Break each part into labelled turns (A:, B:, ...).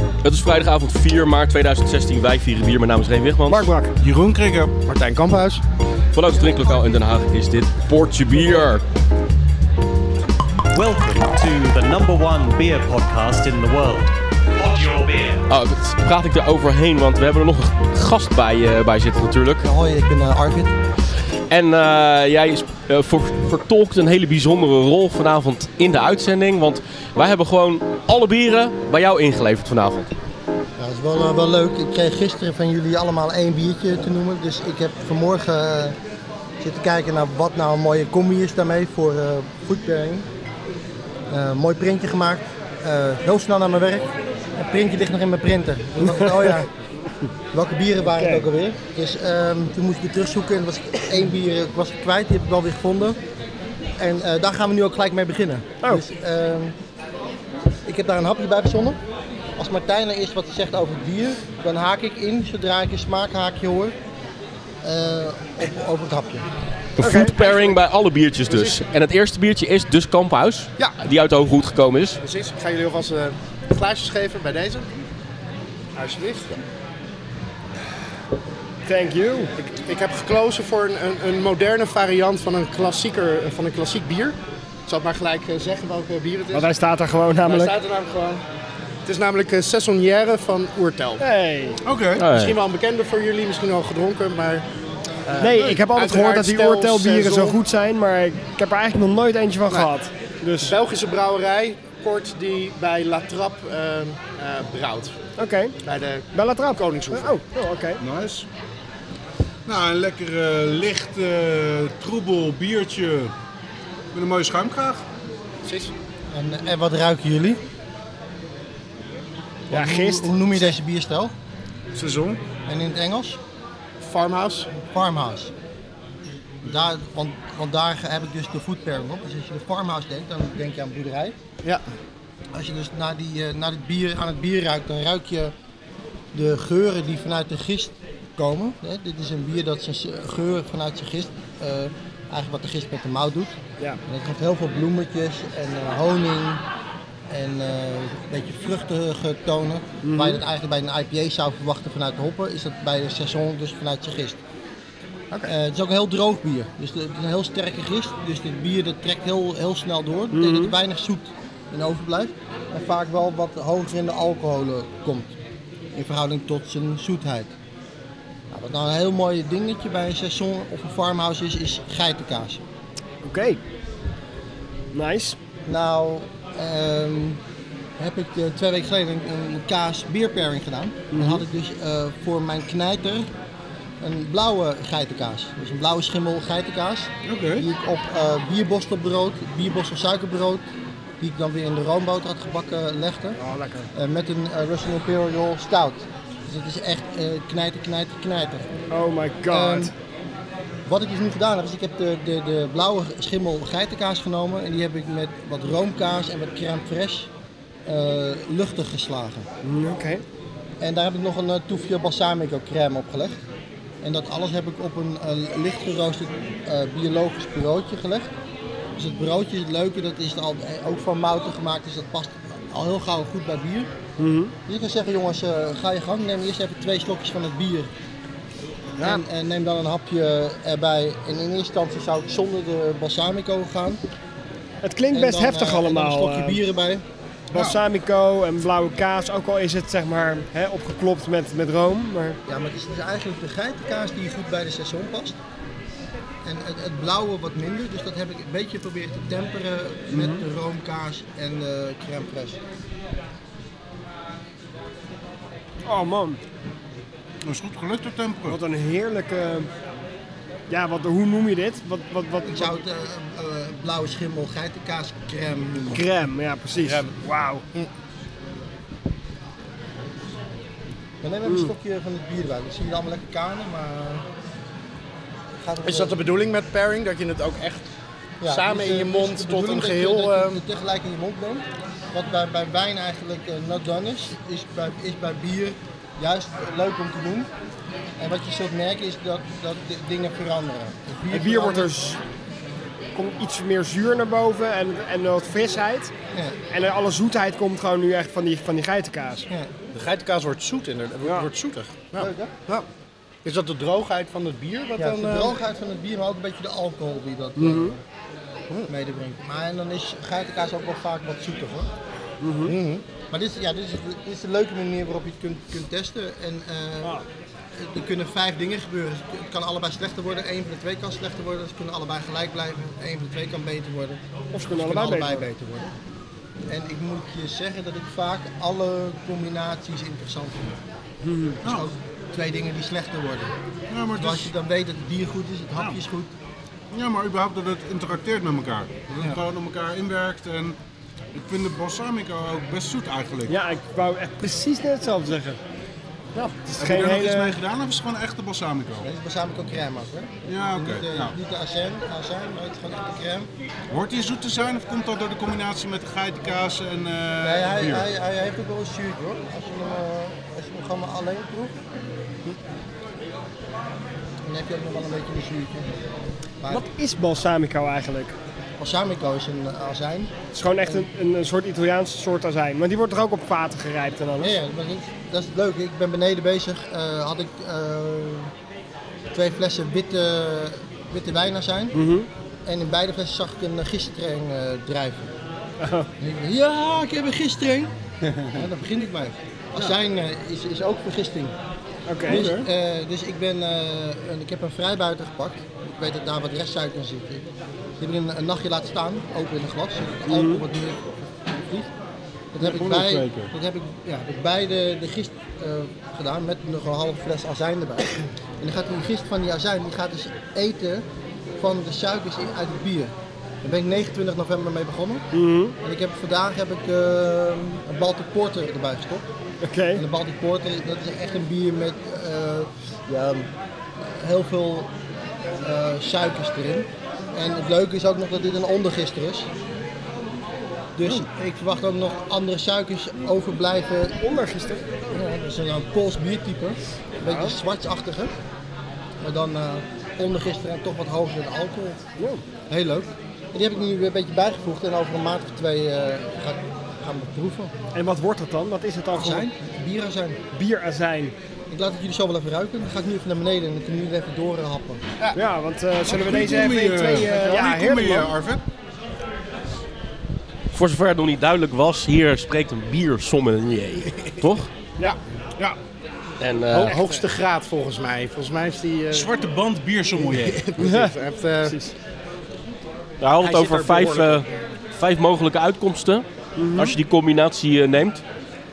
A: Het is vrijdagavond 4 maart 2016. Wij vieren bier. Mijn naam is Reen Wigman.
B: Mark Brak,
C: Jeroen Krikker.
B: Martijn Kamphuis.
A: Vanuit het drinklokaal in Den Haag is dit Portje Bier.
D: Welcome to the number one beer podcast in the world. Pod your beer.
A: Oh, dat praat ik er overheen, want we hebben er nog een gast bij, eh, bij zitten natuurlijk.
E: Hoi, ik ben eh, Arvid.
A: En eh, jij sp- eh, ver- vertolkt een hele bijzondere rol vanavond in de uitzending. Want wij hebben gewoon alle bieren bij jou ingeleverd vanavond.
E: Ja, dat is wel, eh, wel leuk. Ik kreeg gisteren van jullie allemaal één biertje te noemen. Dus ik heb vanmorgen eh, zitten kijken naar wat nou een mooie combi is daarmee voor eh voetbering. Eh, mooi printje gemaakt. Eh, heel snel naar mijn werk. Het printje ligt nog in mijn printer. Toen dacht ik, Oh ja. Welke bieren waren het ook alweer? Dus ehm, toen moest ik weer terugzoeken en was ik één bier eh, was ik kwijt. Die heb ik wel weer gevonden. En eh, daar gaan we nu ook gelijk mee beginnen. Dus, ehm, ik heb daar een hapje bij verzonnen. Als Martijn er is wat hij zegt over het bier, dan haak ik in zodra ik een smaakhaakje hoor eh, op, over het hapje.
A: Een food pairing bij alle biertjes dus. En het eerste biertje is dus Kamphuis.
B: Ja.
A: Die uit de Hooghoed gekomen is.
B: Precies, ik ga jullie alvast eh glaasjes geven bij deze. Alsjeblieft. Thank you. Ik, ik heb gekozen voor een, een, een moderne variant van een, klassieker, eh, van een klassiek bier. Ik zal het maar gelijk eh, zeggen welke bier het is.
C: Want hij staat er gewoon
B: Daar
C: namelijk.
B: staat er namelijk gewoon. Het is namelijk eh, Saisonnière van Oertel.
C: Hey.
B: Oké. Misschien wel een bekende voor jullie, misschien al gedronken, maar... eh,
C: Nee, ik heb altijd gehoord dat die
B: uiteraard stijl,
C: oortelbieren zo
B: saison.
C: goed zijn, maar ik ik heb er eigenlijk nog nooit eentje van
B: Nee.
C: gehad. Dus
B: Belgische brouwerij, kort die bij La Trappe eh, eh, brouwt.
C: oké,
B: Bij de
C: Bella Trap.
B: Koningshoeve.
C: Oh, oh, oké.
F: Nice. Nou, een lekker eh, licht, eh, troebel biertje met een mooie schuimkraag.
B: Precies.
E: En, en wat ruiken jullie?
C: Ja,
E: Hoe,
C: gist.
E: hoe noem je deze bierstijl?
F: Seizoen.
E: En in het Engels?
B: Farmhouse.
E: Farmhouse. Daar, want, want daar heb ik dus de foodpairing op. Dus als je de farmhouse denkt, dan denk je aan boerderij.
B: Ja.
E: Als je dus naar die, eh, naar het bier, aan het bier ruikt, dan ruik je de geuren die vanuit de gist komen. Hè? Dit is een bier dat zijn s- geuren vanuit zijn gist, eh, eigenlijk wat de gist met de mout doet.
C: Ja.
E: En dat geeft heel veel bloemetjes en eh, honing en eh, een beetje vruchtige tonen. Waar je dat eigenlijk bij een IPA zou verwachten vanuit de hoppen, is dat bij de saison dus vanuit zijn gist. Eh, het is ook een heel droog bier. Dus de- het is een heel sterke gist. Dus dit bier dat trekt heel, heel snel door. Dat betekent dat er weinig zoet in overblijft. En vaak wel wat hoger in de alcoholen komt. In verhouding tot zijn zoetheid. Nou, wat nou een heel mooi dingetje bij een seizoen of een farmhouse is, is geitenkaas.
C: Oké. Nice.
E: Nou, ehm, heb ik eh, twee weken geleden een, een kaas bierpairing gedaan. Dan had ik dus eh, voor mijn knijter een blauwe geitenkaas. Dus een blauwe schimmel geitenkaas.
F: Oké.
E: Die ik op eh bierbostelbrood, bierbostel suikerbrood, die ik dan weer in de roomboter had gebakken, legde.
C: Oh, lekker.
E: Eh, met een eh, Russian Imperial Stout. Dus het is echt eh, knijter, knijter, knijter.
C: Oh my god.
E: Ehm, Wat ik dus nu gedaan heb, is ik heb de, de, de blauwe schimmel geitenkaas genomen. En die heb ik met wat roomkaas en wat crème fraîche eh, luchtig geslagen.
C: Mm, oké.
E: En daar heb ik nog een eh, toefje balsamico crème op gelegd. En dat alles heb ik op een eh, licht geroosterd eh, biologisch broodje gelegd. Dus het broodje, het leuke, dat is al, eh, ook van mouten gemaakt, dus dat past al heel gauw goed bij bier.
C: Mhm.
E: Dus ik zou zeggen jongens, eh, ga je gang, neem eerst even twee slokjes van het bier. En, en neem dan een hapje erbij. En in eerste instantie zou ik zonder de balsamico gaan.
C: Het klinkt
E: En
C: best
E: dan,
C: heftig
E: eh, en dan
C: allemaal.
E: Een
C: eh,
E: slokje bier erbij.
C: balsamico en blauwe kaas, ook al is het zeg maar hè, opgeklopt met, met room. Maar
E: Ja, maar het is dus eigenlijk de geitenkaas die goed bij de seizoen past. En het, het blauwe wat minder, dus dat heb ik een beetje geprobeerd te temperen met de roomkaas en eh crème fraîche.
C: oh man,
F: Dat is goed gelukt op tempo.
C: wat een heerlijke. Ja, wat, hoe noem je dit? Wat, wat, wat,
E: Ik zou het eh, eh, blauwe schimmel geitenkaas crème noemen.
C: Crème, ja precies. Wauw.
E: Maar neem even een stokje van het bier erbij. Dan zien jullie allemaal lekker kanen, maar... eh, gaat het
B: Is
E: wel-
B: dat de bedoeling met pairing? Dat je het ook echt
E: Ja,
B: samen
E: dus,
B: in
E: eh,
B: je
E: dus
B: mond
E: de
B: tot
E: bedoeling
B: een
E: dat je-
B: geheel,
E: Dat je,
B: ehm,
E: het tegelijk in je mond brengt. Wat bij, bij wijn eigenlijk eh, not done is, is bij, is bij bier juist leuk om te doen. En wat je zult merken is dat, dat de dingen veranderen. Het bier,
C: Het bier wordt er
E: verandert-
C: z- komt iets meer zuur naar boven en, en wat frisheid.
E: Ja,
C: En alle zoetheid komt gewoon nu echt van die, van die geitenkaas.
E: ja.
B: De geitenkaas wordt zoet inderdaad.
C: Ja.
B: Wordt zoetig. Ja.
E: Leuk, hè?
B: Ja. Is dat de droogheid van het bier? Wat
E: Ja, het
B: dan,
E: is de
B: eh,
E: droogheid van het bier, maar ook een beetje de alcohol die dat eh, medebrengt. Maar en dan is geitenkaas ook wel vaak wat zoeter hoor. Maar dit is, ja, dit, is, dit is de leuke manier waarop je het kunt, kunt testen. En, eh,
F: Ah.
E: Er kunnen vijf dingen gebeuren. Het kan allebei slechter worden, één van de twee kan slechter worden. Ze kunnen allebei gelijk blijven, één van de twee kan beter worden.
C: Of ze kunnen allebei beter worden.
E: beter worden. En ik moet je zeggen dat ik vaak alle combinaties interessant vind. Dus
F: Nou.
E: ook twee dingen die slechter worden.
F: Ja, maar,
E: Maar
F: het
E: als
F: is-
E: je dan weet dat het bier goed is, het hapje is goed.
F: ja, maar überhaupt dat het interacteert met elkaar. Dat het gewoon op elkaar inwerkt. En ik vind de balsamico ook best zoet eigenlijk.
C: Ja, ik wou echt precies net hetzelfde zeggen.
B: Ja.
C: Het is
F: Heb je
C: geen
F: er nog iets
B: eh,
C: hele...
F: mee gedaan of is het gewoon echt de balsamico?
E: Dat is balsamico crème ook, hè?
F: Ja, oké.
E: Niet, de-
F: nou.
E: niet de azijn, azijn, maar het is gewoon echt de crème.
F: Hoort die zoet te zijn of komt dat door de combinatie met de geitenkaas en eh,
E: Nee, hij,
F: bier?
E: hij, hij heeft ook wel een zuurtje hoor. Als je hem, eh, als je hem gewoon maar alleen proeft, dan heb je ook nog wel een beetje een zuurtje. Maar
C: Wat is balsamico eigenlijk?
E: balsamico is een eh, azijn.
C: Het is gewoon echt een, een, een soort Italiaanse soort azijn. Maar die wordt er ook op vaten gerijpt en alles.
E: Ja, ja, maar dat, is- dat is het leuke. Ik ben beneden bezig. eh, had ik eh, twee flessen witte, witte wijnazijn. En in beide flessen zag ik een eh, gistereng eh, drijven. En ik dacht, Ja, ik heb een gistereng. ja, daar begin ik mee. Azijn eh, is, is ook vergisting.
C: Oké.
E: Dus, eh, dus ik, ben, eh, en ik heb een vrijbuiter gepakt. Ik weet dat daar wat restsuiker in zit. Die heb ik een, een nachtje laten staan, open in een glas, zodat het alcohol wat meer vliegt. Dat heb, ik bij,
F: kweker.
E: dat heb ik ja, dat heb ik bij de, de gist eh, gedaan met nog een halve fles azijn erbij. En dan gaat die gist van die azijn die gaat dus eten van de suikers in, uit het bier. Daar ben ik 29 november mee begonnen. En ik heb, vandaag heb ik eh, een Baltic Porter erbij gestopt.
C: Oké.
E: En de Baltic Porter, dat is echt een bier met eh, ja, heel veel eh, suikers erin. En het leuke is ook nog dat dit een ondergister is. Dus ik verwacht ook nog andere suikers overblijven.
C: Ondergisteren.
E: Ja, dat is een, eh, Pools biertype. Een beetje zwartsachtige. Maar dan eh ondergister en toch wat hoger in alcohol. Heel leuk. En die heb ik nu weer een beetje bijgevoegd en over een maand of twee eh, ga ik- gaan we proeven.
C: En wat wordt dat dan? Wat is het dan
E: Zijn,
C: gewoon?
E: bieren zijn.
C: Bierazijn.
E: Ik laat het jullie zo wel even ruiken. Dan ga ik nu even naar beneden en dan kunnen jullie even doorhappen.
C: Ja, want eh, zullen we
F: Goeie
C: deze even
F: combi,
C: in twee...
F: eh,
C: eh,
F: goeie
C: ja,
F: combi,
C: heerlijk
F: eh,
C: man.
F: Arvid.
A: Voor zover het nog niet duidelijk was, hier spreekt een biersommelier. Toch?
C: Ja.
F: Ja,
A: En eh,
B: hoogste graad volgens mij. Volgens mij heeft die... eh,
F: zwarte band biersommelier.
B: precies, hij heeft, eh,
A: we hadden het
B: Hij zit
A: over
B: er Mhm.
A: vijf, eh, vijf mogelijke uitkomsten. Als je die combinatie eh, neemt.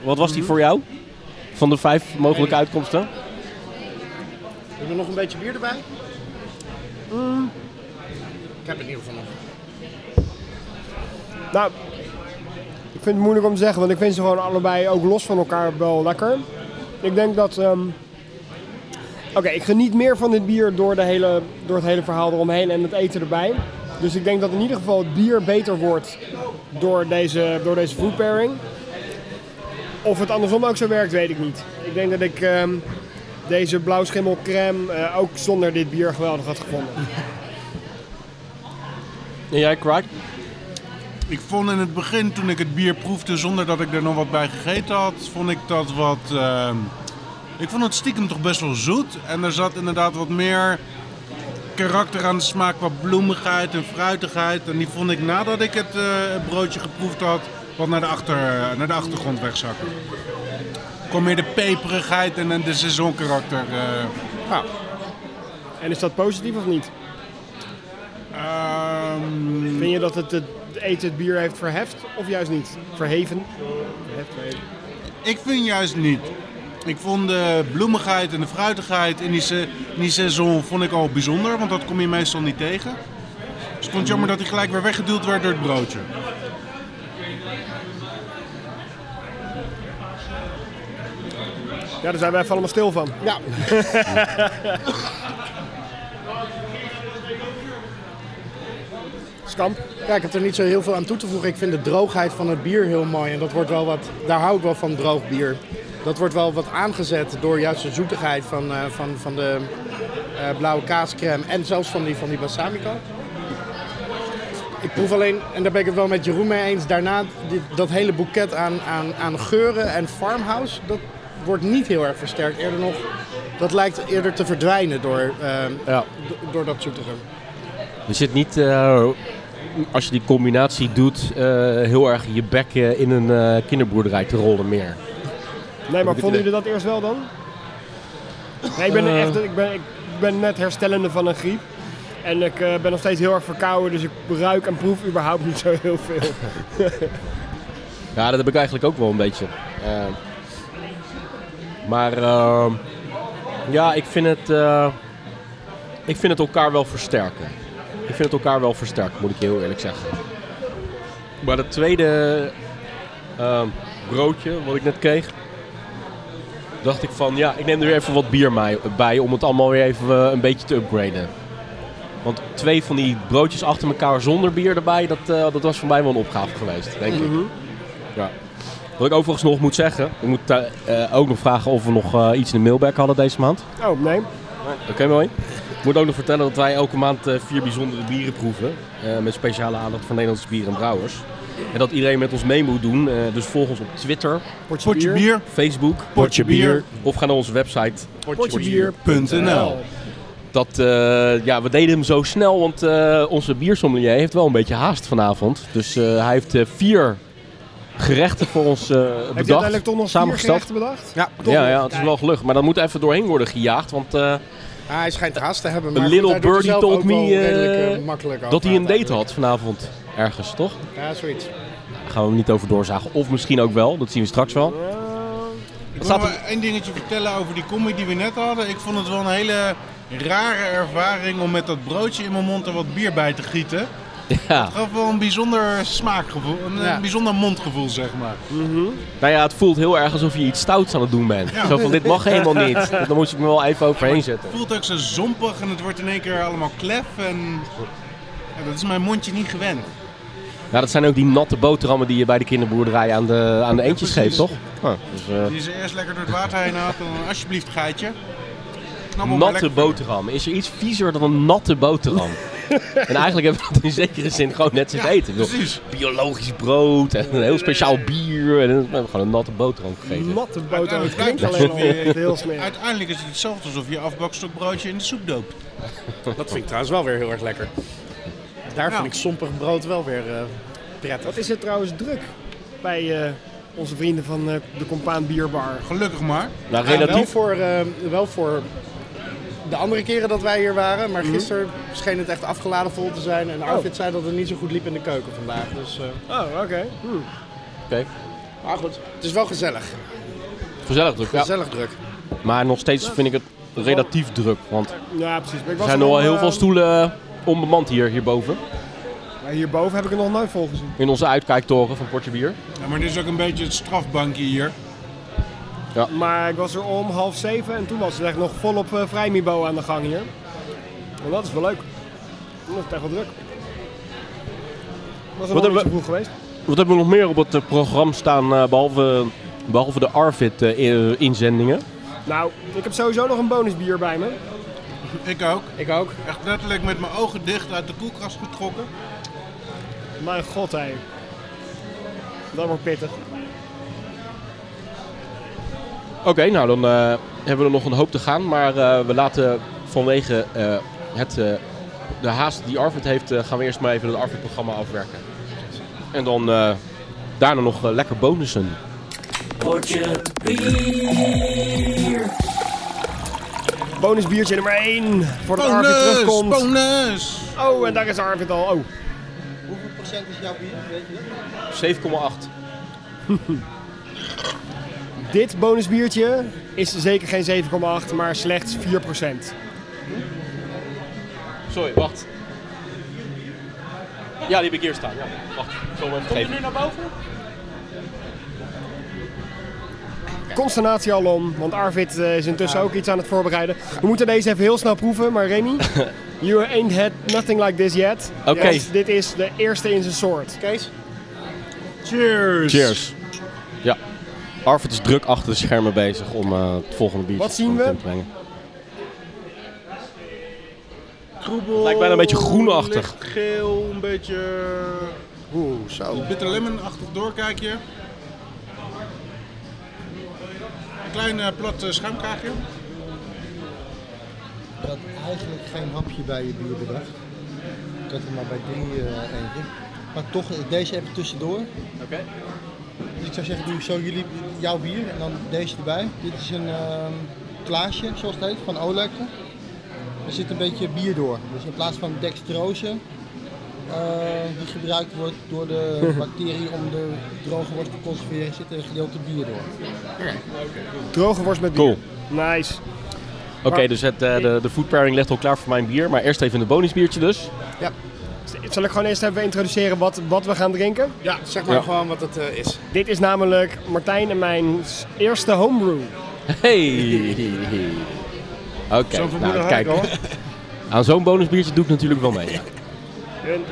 A: Wat was die voor jou? Van de vijf mogelijke uitkomsten?
B: Hebben we nog een beetje bier erbij? Eh. Ik heb in ieder geval nog.
C: Nou, ik vind het moeilijk om te zeggen, want ik vind ze gewoon allebei ook los van elkaar wel lekker. Ik denk dat... ehm, Oké, ik geniet meer van dit bier door, de hele, door het hele verhaal eromheen en het eten erbij. Dus ik denk dat in ieder geval het bier beter wordt door deze, door deze food pairing. Of het andersom ook zo werkt, weet ik niet. Ik denk dat ik ehm, deze blauwschimmelcrème eh ook zonder dit bier geweldig had gevonden.
A: En jij, Craig?
F: Ik vond in het begin, toen ik het bier proefde zonder dat ik er nog wat bij gegeten had, vond ik dat wat... ehm, ik vond het stiekem toch best wel zoet. En er zat inderdaad wat meer karakter aan de smaak qua bloemigheid en fruitigheid. En die vond ik nadat ik het eh, het broodje geproefd had, wat naar de, achter, naar de achtergrond wegzakken. Er kwam meer de peperigheid en en de seizoenkarakter. eh
C: En is dat positief of niet?
F: Ehm,
C: Vind je dat het het eten het bier heeft verheft of juist niet? Verheven? Verheft, verheven.
F: Ik vind juist niet. Ik vond de bloemigheid en de fruitigheid in die, se- in die seizoen vond ik al bijzonder, want dat kom je meestal niet tegen. Dus ik vond het jammer dat hij gelijk weer weggeduwd werd door het broodje.
C: Ja, daar zijn wij even allemaal stil van.
B: Ja.
C: Skamp.
B: ja, ik heb er niet zo heel veel aan toe te voegen. Ik vind de droogheid van het bier heel mooi. En dat wordt wel wat, daar hou ik wel van, droog bier. Dat wordt wel wat aangezet door juist de zoetigheid van, eh, van, van de eh, blauwe kaascrème. En zelfs van die, van die balsamico. Ik proef alleen, en daar ben ik het wel met Jeroen mee eens, daarna die- dat hele boeket aan, aan, aan geuren en farmhouse, dat wordt niet heel erg versterkt. Eerder nog, dat lijkt eerder te verdwijnen door, eh,
A: Ja.
B: do- door dat eh, zoetige.
A: Er zit niet, eh, als je die combinatie doet, eh, heel erg je bek eh, in een eh, kinderboerderij te rollen meer.
C: Nee, maar
A: ik
C: vonden
A: idee.
C: jullie dat eerst wel dan? Nee, ik ben,
A: Eh.
C: echt, ik, ben, ik ben net herstellende van een griep. En ik eh, ben nog steeds heel erg verkouden, dus ik ruik en proef überhaupt niet zo heel veel.
A: Ja, dat heb ik eigenlijk ook wel een beetje. Eh, maar ehm, ja, ik vind, het, eh, ik vind het elkaar wel versterken. Ik vind het elkaar wel versterken, moet ik je heel eerlijk zeggen. Maar dat tweede ehm, broodje wat ik net kreeg, dacht ik van ja, ik neem er weer even wat bier mij- bij om het allemaal weer even eh, een beetje te upgraden. Want twee van die broodjes achter elkaar zonder bier erbij, dat, eh, dat was voor mij wel een opgave geweest, denk ik. Ja. Wat ik overigens nog moet zeggen, ik moet eh, eh, ook nog vragen of we nog eh, iets in de mailbag hadden deze maand.
C: Oh, nee.
A: Oké, mooi. Ik moet ook nog vertellen dat wij elke maand eh, vier bijzondere bieren proeven. eh, met speciale aandacht voor Nederlandse bieren en brouwers. En dat iedereen met ons mee moet doen. eh, dus volg ons op Twitter,
F: Potje bier.
A: Facebook
F: Potjebier.nl
A: of ga naar onze website. Dat, eh, ja, we deden hem zo snel, want eh, onze biersommelier heeft wel een beetje haast vanavond. Dus eh, hij heeft eh, vier gerechten voor ons eh bedacht.
C: Heb je uiteindelijk toch nog vier
A: samengesteld.
C: gerechten bedacht?
B: Ja,
A: Ja, ja, het is wel gelukkig. Maar dat moet even doorheen worden gejaagd. Want eh,
B: Ah, hij schijnt haast te hebben,
A: Een
B: maar
A: little
B: goed, hij doet er
A: birdie
B: zelf
A: told
B: ook wel
A: me, eh,
B: redelijk, eh, makkelijk
A: dat hij een
B: over
A: date had vanavond ergens, toch?
B: uiteindelijk. Ja, zoiets.
A: Daar gaan we hem niet over doorzagen. Of misschien ook wel, dat zien we straks wel.
F: Ik
A: Wat
F: wil
A: staat
F: maar één dingetje vertellen over die combi die we net hadden. Ik vond het wel een hele rare ervaring om met dat broodje in mijn mond er wat bier bij te gieten.
A: Ja.
F: Het gaf wel een bijzonder smaakgevoel, een,
B: Ja.
F: een bijzonder mondgevoel zeg maar.
A: Nou ja, het voelt heel erg alsof je iets stouts aan het doen bent.
F: Ja.
A: Zo van, dit mag helemaal niet. Dan moet je me wel even overheen zetten.
F: Het voelt ook zo zompig en het wordt in één keer allemaal klef en ja, dat is mijn mondje niet gewend.
A: Ja, dat zijn ook die natte boterhammen die je bij de kinderboerderij aan de, aan de eentjes geeft,
F: precies.
A: toch? Ja, dus, eh,
F: Die is eerst lekker door het water heen haalt en dan alsjeblieft geitje. Knap op, maar
A: natte
F: lekker-
A: boterham. Is er iets viezer dan een natte boterham? en eigenlijk hebben we dat in zekere zin gewoon net zitten eten. Ik bedoel,
F: Precies.
A: biologisch brood en een heel speciaal bier. En we hebben gewoon een natte boterham gegeten.
C: Natte boter, het
F: Uiteindelijk
C: klinkt
F: lijkt
C: alleen
F: het
C: al
F: alsof je-
C: echt heel smerig.
F: Uiteindelijk is het hetzelfde alsof je afbakstuk broodje in de soep doopt.
B: Dat vind ik trouwens wel weer heel erg lekker. Daar
F: Ja.
B: vind ik sompig brood wel weer eh, prettig.
C: Nou. Wat is het trouwens druk bij eh, onze vrienden van eh, de Compaan Bierbar?
F: Gelukkig maar.
A: Nou,
B: Ja, wel,
A: relatief.
B: voor, eh, wel voor de andere keren dat wij hier waren,
F: Mhm.
B: maar gisteren scheen het echt afgeladen vol te zijn. En
F: Oh.
B: Arvid zei dat het niet zo goed liep in de keuken vandaag. Dus, eh,
C: Oh, oké. Hmm.
A: Oké.
F: Ah,
B: maar goed, het is wel gezellig.
A: Gezellig druk, ja.
B: Gezellig druk.
A: Maar nog steeds vind ik het relatief druk. Want er
C: Ja, precies. Maar ik was
A: zijn nog wel
C: al,
A: heel
C: eh,
A: veel stoelen onbemand hier, hierboven.
C: maar Hierboven heb ik er nog nooit vol gezien.
A: In onze uitkijktoren van Portje Bier.
F: Ja, maar dit is ook een beetje het strafbankje hier.
C: Maar ik was er om half zeven en toen was het echt nog volop eh vrijmibo aan de gang hier. En dat is wel leuk. Dat is het echt wel druk. Was er nog
A: hebben
C: niet zo
A: we-
C: vroeg geweest?
A: Wat hebben we nog meer op het eh, programma staan, eh, behalve, behalve de eh, Arvid-inzendingen?
C: Nou, ik heb sowieso nog een bonusbier bij me.
F: Ik ook.
B: Ik ook.
F: Echt letterlijk met mijn ogen dicht uit de koelkast getrokken.
C: Mijn god, hé. Dat wordt pittig.
A: Oké, nou dan eh, hebben we er nog een hoop te gaan. Maar eh, we laten vanwege eh, het, eh, de haast die Arvid heeft, eh, gaan we eerst maar even het Arvid-programma afwerken. En dan eh, daarna nog eh, lekker bonussen.
C: Bonusbiertje nummer 1 voordat Arvid
F: Bonus!
C: terugkomt.
F: Bonus!
C: Oh, en daar is Arvid al. Oh,
E: Hoeveel procent is jouw bier? Weet je dat?
A: 7,8.
C: dit bonusbiertje is zeker geen 7,8, maar slechts 4%.
A: Sorry, wacht. Ja, die heb ik hier staan. Ja. Wacht, ik zal hem even geven.
C: Consternatie alom, want Arvid eh, is intussen ook iets aan het voorbereiden. We moeten deze even heel snel proeven, maar Remy, you ain't had nothing like this yet.
A: Oké.
C: Want dit is de eerste in zijn soort.
B: Kees?
F: Cheers!
A: Cheers. Ja. Arvid is druk achter de schermen bezig om eh, het volgende biertje
C: Wat zien
A: te
C: we?
A: brengen.
F: troebel.
A: Lijkt bijna een beetje groenachtig.
F: Geel, een beetje
B: Oeh, zo.
F: eh, bitter lemon-achtig doorkijkje. Een klein eh, plat eh, schuimkraagje.
E: Ik had eigenlijk geen hapje bij je bier bedacht. Ik had er maar bij drie eh eentje. Maar toch, eh, deze even tussendoor.
A: Oké.
E: Dus ik zou zeggen, doe zo jullie, jouw bier en dan deze erbij. Dit is een ehm glaasje, zoals het heet, van Olekte. Er zit een beetje bier door. Dus in plaats van dextrose, eh, die gebruikt wordt door de bacterie om de droge worst te conserveren, zit er een gedeelte bier door.
C: Droge worst met bier.
A: Cool.
C: Nice.
A: Oké, dus het, eh, de, de food pairing ligt al klaar voor mijn bier. Maar eerst even een bonusbiertje dus.
C: Zal ik gewoon eerst even introduceren wat, wat we gaan drinken?
B: Ja, zeg maar
A: Ja.
B: gewoon wat het eh, is.
C: Dit is namelijk Martijn en mijn s- eerste homebrew.
A: Hey! Oké,
F: Zo'n
A: nou,
F: vermoeden had ik
A: kijk.
F: al.
A: Aan Nou, zo'n bonusbiertje doe ik natuurlijk wel mee. ja.
C: Een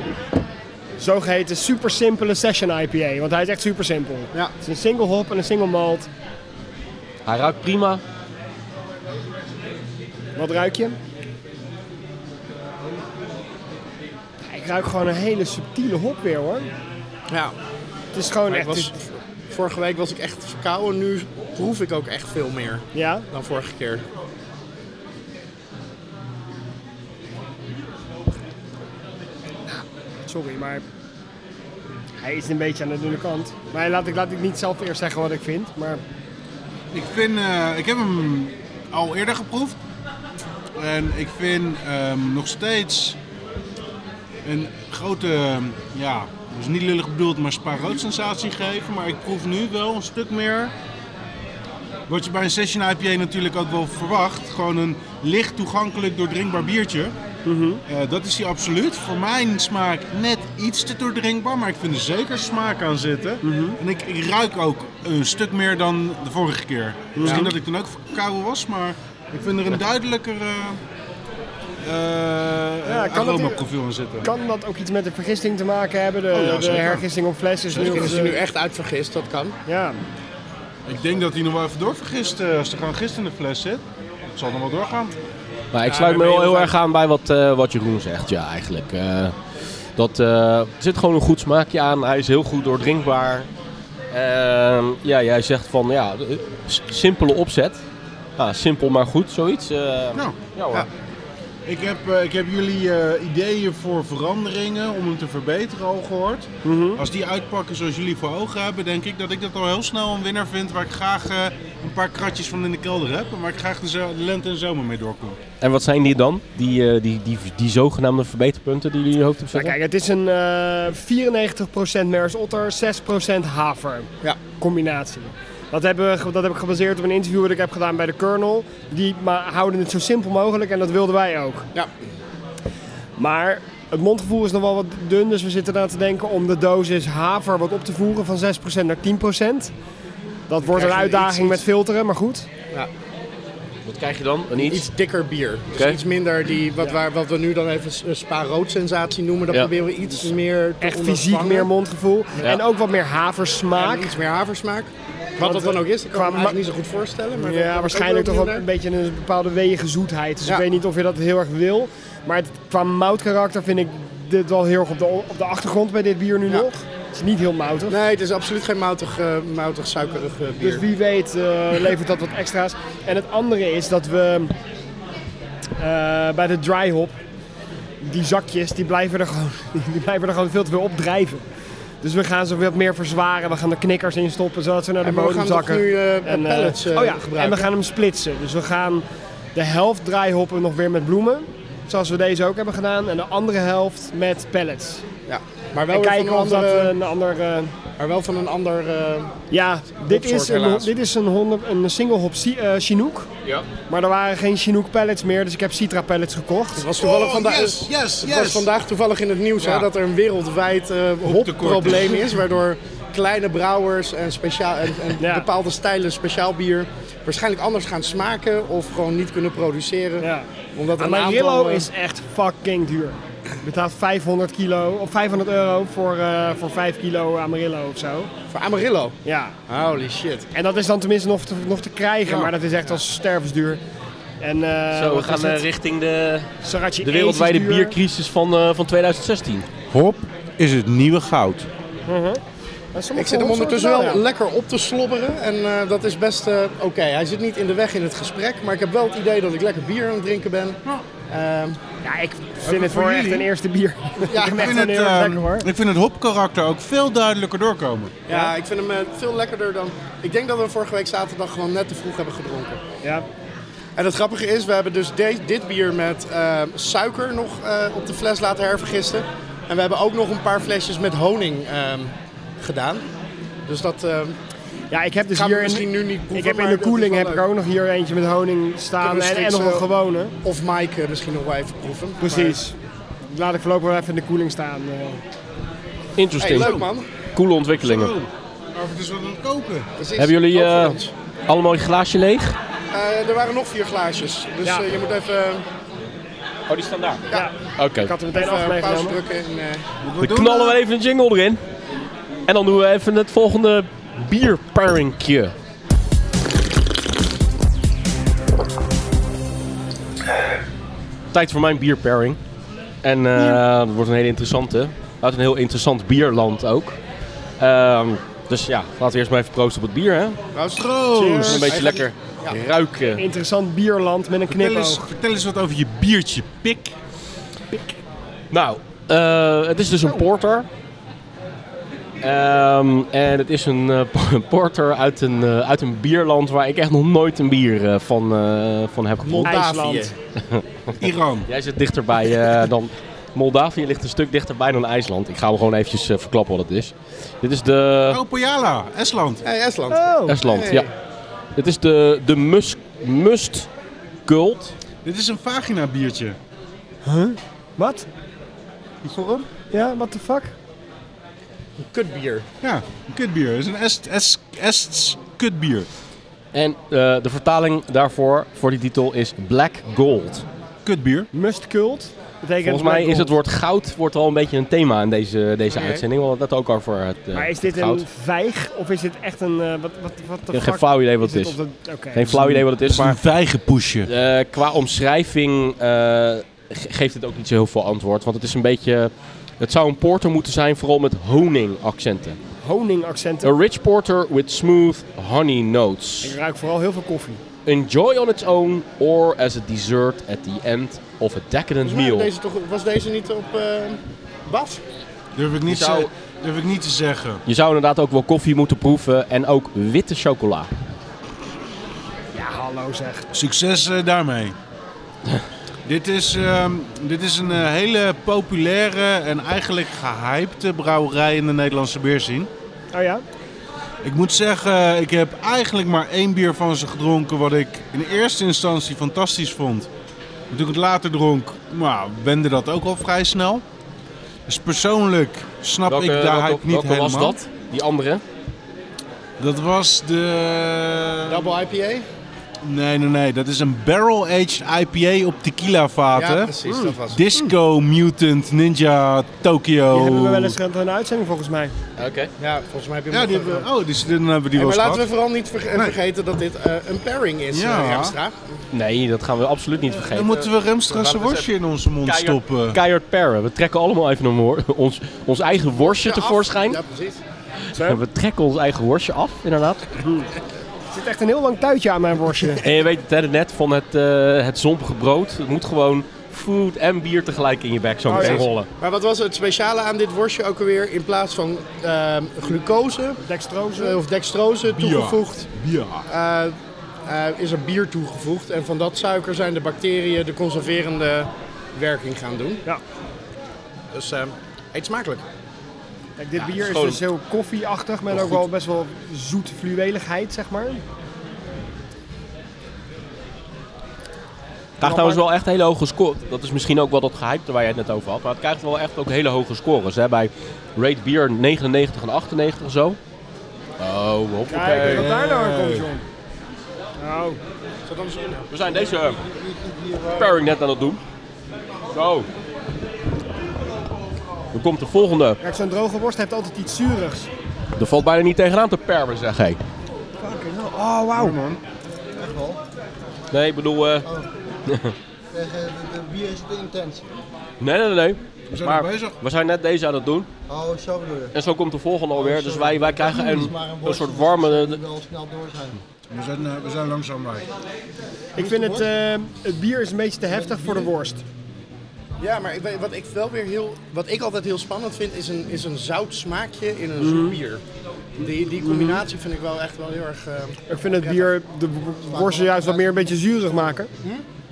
C: zogeheten super simpele session IPA, want hij is echt super simpel.
B: Ja.
C: Het is een single hop en een single malt.
A: Hij ruikt prima.
C: Wat ruik je? Ik ruik gewoon een hele subtiele hop weer hoor.
B: Ja,
C: Het is gewoon
B: maar ik
C: echt...
B: was, vorige week was ik echt verkouden. Nu proef ik ook echt veel meer
C: Ja?
B: dan vorige keer.
C: Sorry, maar hij is een beetje aan de dunne kant. Maar laat ik, laat ik niet zelf eerst zeggen wat ik vind. Maar
F: Ik vind, eh, ik heb hem al eerder geproefd. En ik vind ehm, nog steeds een grote, ehm, ja, dat is niet lullig bedoeld, maar spa-rood sensatie geven. Maar ik proef nu wel een stuk meer. Wat je bij een session IPA natuurlijk ook wel verwacht. Gewoon een licht toegankelijk doordrinkbaar biertje.
C: Mhm.
F: Eh, dat is hij absoluut. Voor mijn smaak net iets te doordrinkbaar, maar ik vind er zeker smaak aan zitten.
C: Mhm.
F: En ik, ik ruik ook een stuk meer dan de vorige keer. Misschien dat ik toen ook verkouden was, maar ik vind er een duidelijker eh eh,
C: Ja, kan het-
F: aromaprofiel aan zitten.
C: kan dat ook iets met de vergisting te maken hebben? De,
F: Oh, ja,
C: de
F: zeker.
C: hergisting op fles is nu...
B: Misschien is hij nu echt uitvergist, dat kan.
C: Ja,
F: Ik denk dat hij nog wel even doorvergist eh, als er gewoon gist in de fles zit. Het zal nog wel doorgaan.
A: Maar ik
B: Ja,
A: sluit me
B: daar
A: wel
B: ben je
A: heel
B: wel
A: erg aan bij wat, eh, wat Jeroen zegt. Ja, eigenlijk. Eh, dat, eh, er zit gewoon een goed smaakje aan. Hij is heel goed doordrinkbaar. Ehm, ja, jij zegt van ja, eh, s- simpele opzet. Ja, simpel maar goed, zoiets. Eh,
F: Nou,
A: ja hoor.
F: ja. Ik heb, eh, ik heb jullie eh, ideeën voor veranderingen om hem te verbeteren al gehoord. Als die uitpakken zoals jullie voor ogen hebben, denk ik dat ik dat al heel snel een winnaar vind. Waar ik graag eh, een paar kratjes van in de kelder heb. En waar ik graag de, zo- de lente en zomer mee doorkom.
A: En wat zijn die dan? Die, eh, die, die, die, zogenaamde verbeterpunten die jullie in je hoofd hebben
C: Nou,
A: zitten?
C: kijk, het is een eh 94% Mers Otter, 6% Haver
B: Ja.
C: combinatie. Dat, hebben we, ge- dat heb ik gebaseerd op een interview dat ik heb gedaan bij de Colonel. Die maar houden het zo simpel mogelijk en dat wilden wij ook.
B: Ja.
C: Maar het mondgevoel is nog wel wat dun, dus we zitten eraan te denken om de dosis Haver wat op te voeren van 6% naar 10%. Dat wordt een
B: je
C: uitdaging
B: iets- iets-
C: met filteren, maar goed.
A: Wat krijg je dan? Een iets?
B: Iets dikker bier. Dus
A: Oké.
B: iets minder die, wat, waar, wat we nu dan even eh, spa-rood sensatie noemen. Dat
A: Ja.
B: proberen we iets meer te
C: Echt fysiek
B: ondervangen.
C: meer mondgevoel.
A: Ja.
C: En ook wat meer haversmaak.
B: En iets meer haversmaak. Wat
C: Want,
B: dat dan
C: eh,
B: ook is, ik kan
C: qua
B: me eigenlijk
C: ma-
B: niet zo goed voorstellen. Maar dat- dat
C: Ja,
B: ook
C: waarschijnlijk
B: wel
C: toch wel
B: benieuwd
C: een beetje een bepaalde wegen zoetheid. Dus
B: Ja.
C: ik weet niet of je dat heel erg wil. Maar het, qua moutkarakter vind ik dit wel heel erg op de, op de achtergrond bij dit bier nu
B: Ja.
C: nog. Het is niet heel moutig.
B: naar. Nee, het is absoluut geen moutig, eh, moutig suikerig eh, bier.
C: Dus wie weet eh, levert dat wat extra's. En het andere is dat we eh, bij de dry hop, die zakjes, die blijven, er gewoon, die blijven er gewoon veel te veel op drijven. Dus we gaan ze wat meer verzwaren. We gaan er knikkers in stoppen, zodat ze naar de
B: en maar we
C: bodem
B: gaan toch
C: zakken.
B: nu eh,
C: En, eh,
B: pallets eh,
C: oh ja,
B: gebruiken.
C: en we gaan hem splitsen. Dus we gaan de helft draaihoppen nog weer met bloemen. Zoals we deze ook hebben gedaan. En de andere helft met pallets.
B: ja. Maar
C: en
B: wel, weer van
C: kijken
B: Nou, een
C: of dat
B: andere-
C: een ander... eh,
B: maar wel van een ander... eh,
C: ja, dit
B: Hopsoort
C: is, een,
B: helaas.
C: dit is een, honderd, een single hop si- eh, Chinook.
A: Ja.
C: Maar er waren geen Chinook pallets meer. Dus ik heb Citra pallets gekocht.
B: het was toevallig
F: Oh,
B: vandaag...
F: yes, yes,
B: Het was
F: yes.
B: vandaag toevallig in het nieuws
F: Ja.
B: hè, dat er een wereldwijd eh hopprobleem is, waardoor kleine brouwers en, speciaal, en, en
C: Ja.
B: bepaalde stijlen speciaal bier waarschijnlijk anders gaan smaken of gewoon niet kunnen produceren.
C: Ja.
B: Omdat een
C: Amarillo
B: aantal, eh,
C: is echt fucking duur. Je betaalt 500, kilo, of 500 euro voor, eh, voor 5 kilo Amarillo of zo.
B: voor Amarillo.
C: Ja,
B: Holy shit.
C: En dat is dan tenminste nog te, nog te krijgen,
B: Ja.
C: maar dat is echt als stervensduur. En, eh,
A: Zo, we
C: wat
A: gaan
C: is
A: eh,
C: het?
A: richting de,
C: Sriracha
A: de wereldwijde
C: Ace is duur.
A: biercrisis van, eh, van 2016.
F: Hop is het nieuwe goud.
C: Maar sommige
B: Ik zit hem
C: hops
B: ondertussen wel
C: worden Oh, ja.
B: lekker op te slobberen. En eh, dat is best eh, oké. Hij zit niet in de weg in het gesprek. Maar ik heb wel het idee dat ik lekker bier aan het drinken ben. Ehm,
C: Ja, ik vind het voor
F: voor
C: echt
F: jullie?
C: een eerste bier.
B: ja,
C: ik
B: ik
C: ben echt
F: vind
C: wel
F: het,
C: heel erg
F: ehm,
C: lekker hoor.
F: ik vind het hopkarakter ook veel duidelijker doorkomen.
B: ja, ik vind hem eh, veel lekkerder dan... Ik denk dat we vorige week zaterdag gewoon net te vroeg hebben gedronken.
C: Ja.
B: En het grappige is, we hebben dus de- dit bier met eh, suiker nog eh, op de fles laten hervergisten. En we hebben ook nog een paar flesjes met honing ehm, gedaan. Dus dat eh,
C: ja, ik heb dus
B: gaan
C: hier
B: we
C: in-
B: misschien nu niet proeven.
C: ik heb in
B: maar
C: de
B: dat is
C: koeling
B: wel
C: heb ik
B: leuk.
C: ook nog hier eentje met honing staan
B: Kunnen we
C: en, en nog een
B: straks, eh,
C: gewone.
B: Of Mike eh, misschien nog wel even proeven.
C: Precies. Laat ik voorlopig wel even in de koeling staan. eh.
B: Maar- Hey,
A: Interesting.
B: leuk man.
A: Coole ontwikkelingen.
F: Oh, maar het is wel aan het koken.
B: Precies.
A: Hebben jullie,
B: Ook voor
A: eh,
B: ons.
A: Allemaal je glaasje leeg?
B: Eh, er waren nog vier glaasjes. Dus
C: Ja.
B: eh, je moet even,
A: Oh, die staan daar.
C: ja,
A: Oké.
C: ik had er meteen af
B: even eh, pauze
C: meegenomen.
B: drukken. En, eh,
F: We
A: Dan knallen we even een jingle erin. En dan doen we even het volgende bierpairingje. Tijd voor mijn bierpairing. En eh, dat wordt een hele interessante. Uit een heel interessant bierland ook. Ehm, dus ja, laten we eerst maar even proosten op het bier. Hè?
B: trouwens,
A: Een
B: Hij
A: beetje
B: gaat-
A: lekker
B: Ja.
A: ruiken.
C: Interessant bierland met een
F: Vertel eens,
C: knipoog.
F: vertel eens wat over je biertje, pik.
A: Nou, eh, het is dus een porter. Ehm, en het is een eh, po- een porter uit een, eh, uit een bierland waar ik echt nog nooit een bier eh, van, eh, van heb gedronken.
B: Moldavië.
C: IJsland.
F: Iran.
A: Jij zit dichterbij eh, dan... Moldavië ligt een stuk dichterbij dan IJsland. Ik ga hem gewoon eventjes eh, verklappen wat het is. Dit is de...
F: Oh, Pojala, Estland.
B: Hey, Estland.
C: Oh,
A: IJsland,
B: hey.
A: ja. Dit is de, de musk, Must Cult.
F: Dit is een vagina biertje.
C: wat? Ja, what the fuck?
B: Kutbier.
F: Ja, een kutbier. Het is een Est, Est, Ests kutbier.
A: En eh, de vertaling daarvoor, voor die titel, is Black Gold.
F: Kutbier.
C: Mustcult. Betekent
A: Volgens mij is
C: Black
A: het
C: Gold.
A: woord goud wordt al een beetje een thema in deze, eh, deze
B: Oké.
A: uitzending. We hadden het net ook over het eh,
C: Maar is dit
A: goud.
C: een vijg of is dit echt een... eh, wat, wat, wat
A: Ik
C: de
A: heb geen
C: fuck
A: flauw idee wat het
C: dit
A: is.
C: op de- Oké.
A: Geen flauw idee wat het is, maar
F: vijgenpoesje.
A: eh, qua omschrijving eh, ge- geeft het ook niet zo heel veel antwoord. Want het is een beetje... Het zou een porter moeten zijn, vooral met honingaccenten.
C: Honingaccenten.
A: A rich porter with smooth honey
C: Ik
A: notes.
C: ruik vooral heel veel koffie.
A: Enjoy on its own or as a dessert at the end of a decadent
B: Maar
A: meal.
B: Deze toch, was deze niet op eh Baf?
F: Durf ik, niet
A: Je zou-
F: te, durf ik niet te zeggen.
A: Je zou inderdaad ook wel koffie moeten proeven en ook witte chocola.
C: Ja, hallo zeg.
F: Succes eh, daarmee. dit, is, ehm, dit is een eh, hele populaire en eigenlijk gehypte brouwerij in de Nederlandse bierscene.
C: Oh ja?
F: Ik moet zeggen, ik heb eigenlijk maar één bier van ze gedronken wat ik in eerste instantie fantastisch vond. En Toen ik het later dronk, nou, wende dat ook al vrij snel. Dus persoonlijk snap
A: Welke,
F: ik daar
A: welke-
F: hype niet
A: welke
F: helemaal.
A: was dat? Die andere?
F: Dat was de...
B: Double IPA?
F: Nee, nee, nee. Dat is een barrel-aged IPA op tequila vaten.
B: Ja, precies. Dat was het.
F: Disco Mutant Ninja Tokyo.
C: Die hebben we
A: Oh.
C: wel eens gehad in een uitzending volgens mij.
A: Oké.
B: Ja, volgens mij heb je hem
F: Ja,
B: nog
F: die
B: wel
F: hebben we- Oh, dus dan hebben we die
B: Hey, maar
F: wel eens
B: laten
F: gehad.
B: we vooral niet verge- eh,
F: Nee.
B: vergeten dat dit eh, een pairing is,
F: Ja.
B: ja. Remstra.
A: Nee, dat gaan we absoluut niet
F: Dan
A: vergeten.
F: moeten we Remstra's
A: laten we
F: worstje in onze mond stoppen.
A: Keihard paren. We trekken allemaal even een woor- ons, ons eigen worstje
B: Ja, af.
A: tevoorschijn.
B: Ja, precies.
A: We trekken ons eigen worstje af, inderdaad.
C: Er zit echt een heel lang tuitje aan mijn worstje.
A: En je weet het hè, net van het, eh het zompige brood. Het moet gewoon food en bier tegelijk in je bek zo
C: Oh,
A: meteen
C: ja.
A: rollen.
B: Maar wat was het speciale aan dit worstje ook alweer? In plaats van ehm, glucose eh,
C: Dextrose.
B: of dextrose toegevoegd,
F: Ja.
B: eh, eh, is er bier toegevoegd. En van dat suiker zijn de bacteriën de conserverende werking gaan doen.
C: Ja.
B: Dus ehm, eet smakelijk.
C: Kijk, dit
A: Ja,
C: bier
A: het
C: is
A: is gewoon-
C: dus heel koffieachtig met
A: Wel
C: ook wel best wel zoete fluweligheid, zeg maar.
A: Het krijgt trouwens wel echt hele hoge scores. Dat is misschien ook wel dat gehypte waar jij het net over had. Maar het krijgt wel echt ook hele hoge scores. Hè? Bij Rate Beer 99 en 98 en zo. Oh, hoppakee.
C: Kijk, wat daar nou aan komt, John. Nou,
A: We zijn deze eh, pairing net aan het doen. Zo. Dan komt de volgende.
C: kijk, zo'n droge worst heeft altijd iets zurigs.
A: Er valt bijna niet tegenaan te permen, zeg hij.
C: Oh, wauw.
E: echt wel.
A: Nee, ik bedoel... eh,
E: Zeg, eh, De, de bier is te intens.
A: nee, nee, nee.
F: We zijn
A: maar
F: nog bezig.
A: we zijn net deze aan het doen.
E: Oh, zo bedoel je.
A: En zo komt de volgende alweer. Dus
E: Sorry.
A: wij, wij krijgen
E: Het is
A: een,
E: maar
A: een,
E: worst,
A: soort
E: dus
A: warme... eh,
E: het zal wel snel door zijn.
F: We zijn, eh, we zijn langzaam bij.
C: Ik vind het, eh, het bier is een beetje te heftig voor de worst.
B: Ja, maar ik weet- wat ik wel weer heel, wat ik altijd heel spannend vind, is een, is een zout smaakje in
C: Mhm.
B: een zoet bier. Die, die combinatie vind ik wel echt wel heel erg. eh,
C: Ik vind het bier, de w- worst juist wat meer een beetje zuurig maken.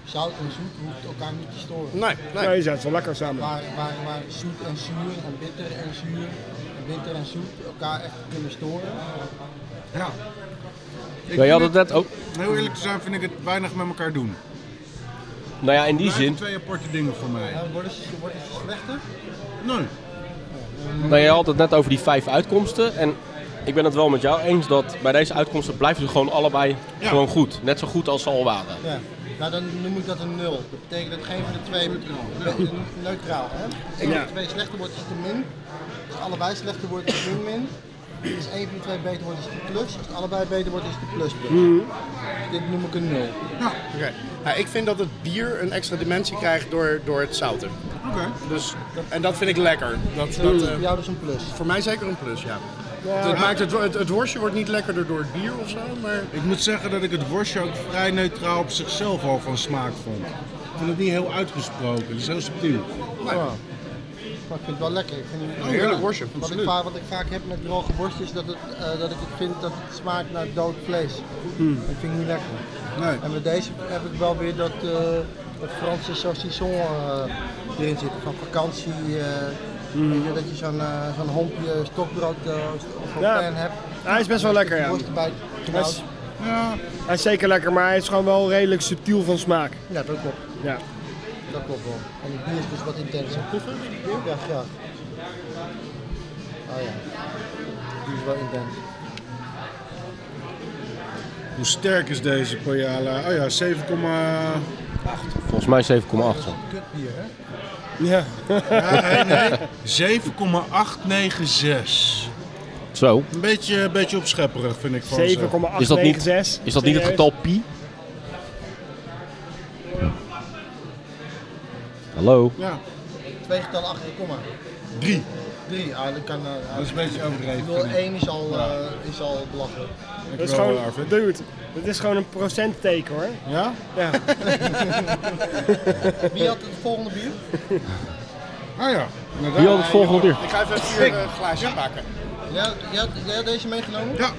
E: Zout en zoet hoeft elkaar niet te storen.
B: nee, nee.
C: Nee, ze zijn wel lekker samen.
E: Waar, waar, waar zoet en zuur en bitter en zuur en bitter en zoet elkaar echt kunnen storen.
F: Ja. Ik
A: Ja, je had
F: vind
A: het net ook...
F: het- Heel eerlijk te zijn vind ik het weinig met elkaar doen.
A: Nou ja, in die
F: Het zijn
A: zin...
F: twee aparte dingen voor mij.
E: Ja, worden ze, worden ze slechter?
F: Nee.
A: Nou, je had het net over die vijf uitkomsten. En ik ben het wel met jou eens dat bij deze uitkomsten blijven ze gewoon allebei
F: Ja.
A: gewoon goed. Net zo goed als ze al waren.
E: Ja. Nou, dan noem ik dat een nul. Dat betekent dat geen van de twee neutraal, neutraal hè? Als Een van de twee slechter wordt is het een min. Als allebei slechter wordt is het min min. Als één van de twee beter wordt is het een plus. Als het allebei beter wordt is het een plus plus.
B: Mhm.
E: Dit noem ik een nul.
B: Oké. Nou, ik vind dat het bier een extra dimensie krijgt door, door het zouten.
F: Oké.
B: Dus, en dat vind ik lekker. Dat, dat,
E: Dat is
B: eh,
E: voor jou dus een plus.
B: voor mij zeker een plus, ja. Het, maakt het, het, het worstje wordt niet lekkerder door het bier of zo, maar
F: Ik moet zeggen dat ik het worstje ook vrij neutraal op zichzelf al van smaak vond. Ik vond het niet heel uitgesproken. Het is heel subtiel.
E: Maar ik vind het wel lekker. Ik vind het
F: Oh,
B: heerlijk
F: ja.
B: worstje.
E: Wat ik, vaak, wat ik vaak heb met droge worst is dat, het, eh, dat ik het vind dat het smaakt naar dood vlees.
C: Hmm.
E: Dat vind ik niet lekker.
F: Nee.
E: En met deze heb ik wel weer dat, eh dat Franse saucisson eh, erin zit. Van vakantie. eh,
C: Hmm.
E: weet je, dat je zo'n eh, zo'n hompje stokbrood eh, of een
C: Ja.
E: pan hebt.
C: Hij is best wel lekker, ja.
E: Worst erbij
C: Hij
E: knalt.
C: is,
F: Ja.
C: hij is zeker lekker, maar hij is gewoon wel redelijk subtiel van smaak.
E: Ja, dat klopt.
C: Ja.
E: Dat klopt wel. En het bier is dus wat intenser. Proeven? Ja, graag. Oh ja. Het bier is wel intens.
F: Hoe sterk is deze Pajala? Oh ja, 7,
A: Volgens mij 7,8. zo.
E: Kutbier, hè?
C: ja.
F: 7,896.
A: Zo.
F: Een beetje, een beetje opschepperig vind ik van ze.
C: 7,896.
A: eh, Is dat niet, is dat niet het
C: Serieus?
A: getal pi? Hallo?
F: Ja,
E: Twee getallen achter de komma.
F: 3.
E: Drie, ah, dat kan. eh,
F: Dat is een beetje overdreven. vind ik.
E: 01 is al, eh, is al belachelijk.
F: Dankjewel,
C: Dat is gewoon,
F: Arvid.
C: dude, dat is gewoon een procentteken hoor.
F: Ja?
C: Ja.
E: Wie had het volgende bier?
F: Ah ja, inderdaad.
A: Wie had het volgende uur?
B: ik ga even vier eh, glaasjes pakken.
E: Jij, had- jij, had- jij had deze meegenomen?
F: Ja.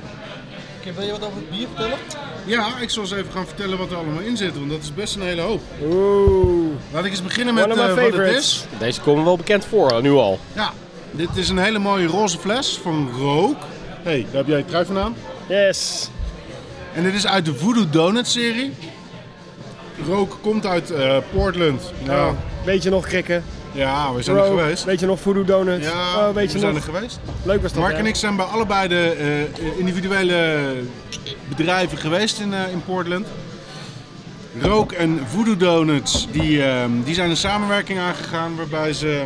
E: Oké, wil je wat over het bier vertellen?
F: Ja, ik zal eens even gaan vertellen wat er allemaal in zit, want dat is best een hele hoop.
C: Oeh.
F: Laat ik eens beginnen met
C: One of my
F: eh, wat het
C: favorites.
F: is.
A: Deze komen wel bekend voor, eh, nu al.
F: Ja, dit is een hele mooie roze fles van Rook. Hé, hey, daar heb jij je trui van aan.
C: Yes.
F: En dit is uit de Voodoo Donut serie. Rook komt uit eh, Portland. Ja.
C: Weet je nog krikken?
F: ja, we zijn er
C: Bro,
F: geweest.
C: Weet je nog voodoo donuts?
F: Ja,
C: Oh, weet
F: we
C: je
F: zijn
C: nog? eh,
F: er geweest.
C: Leuk was dat
F: Mark
C: hè?
F: en ik zijn bij allebei de eh, individuele bedrijven geweest in, eh, in Portland. Rook en Voodoo Donuts die, ehm, die zijn een samenwerking aangegaan waarbij ze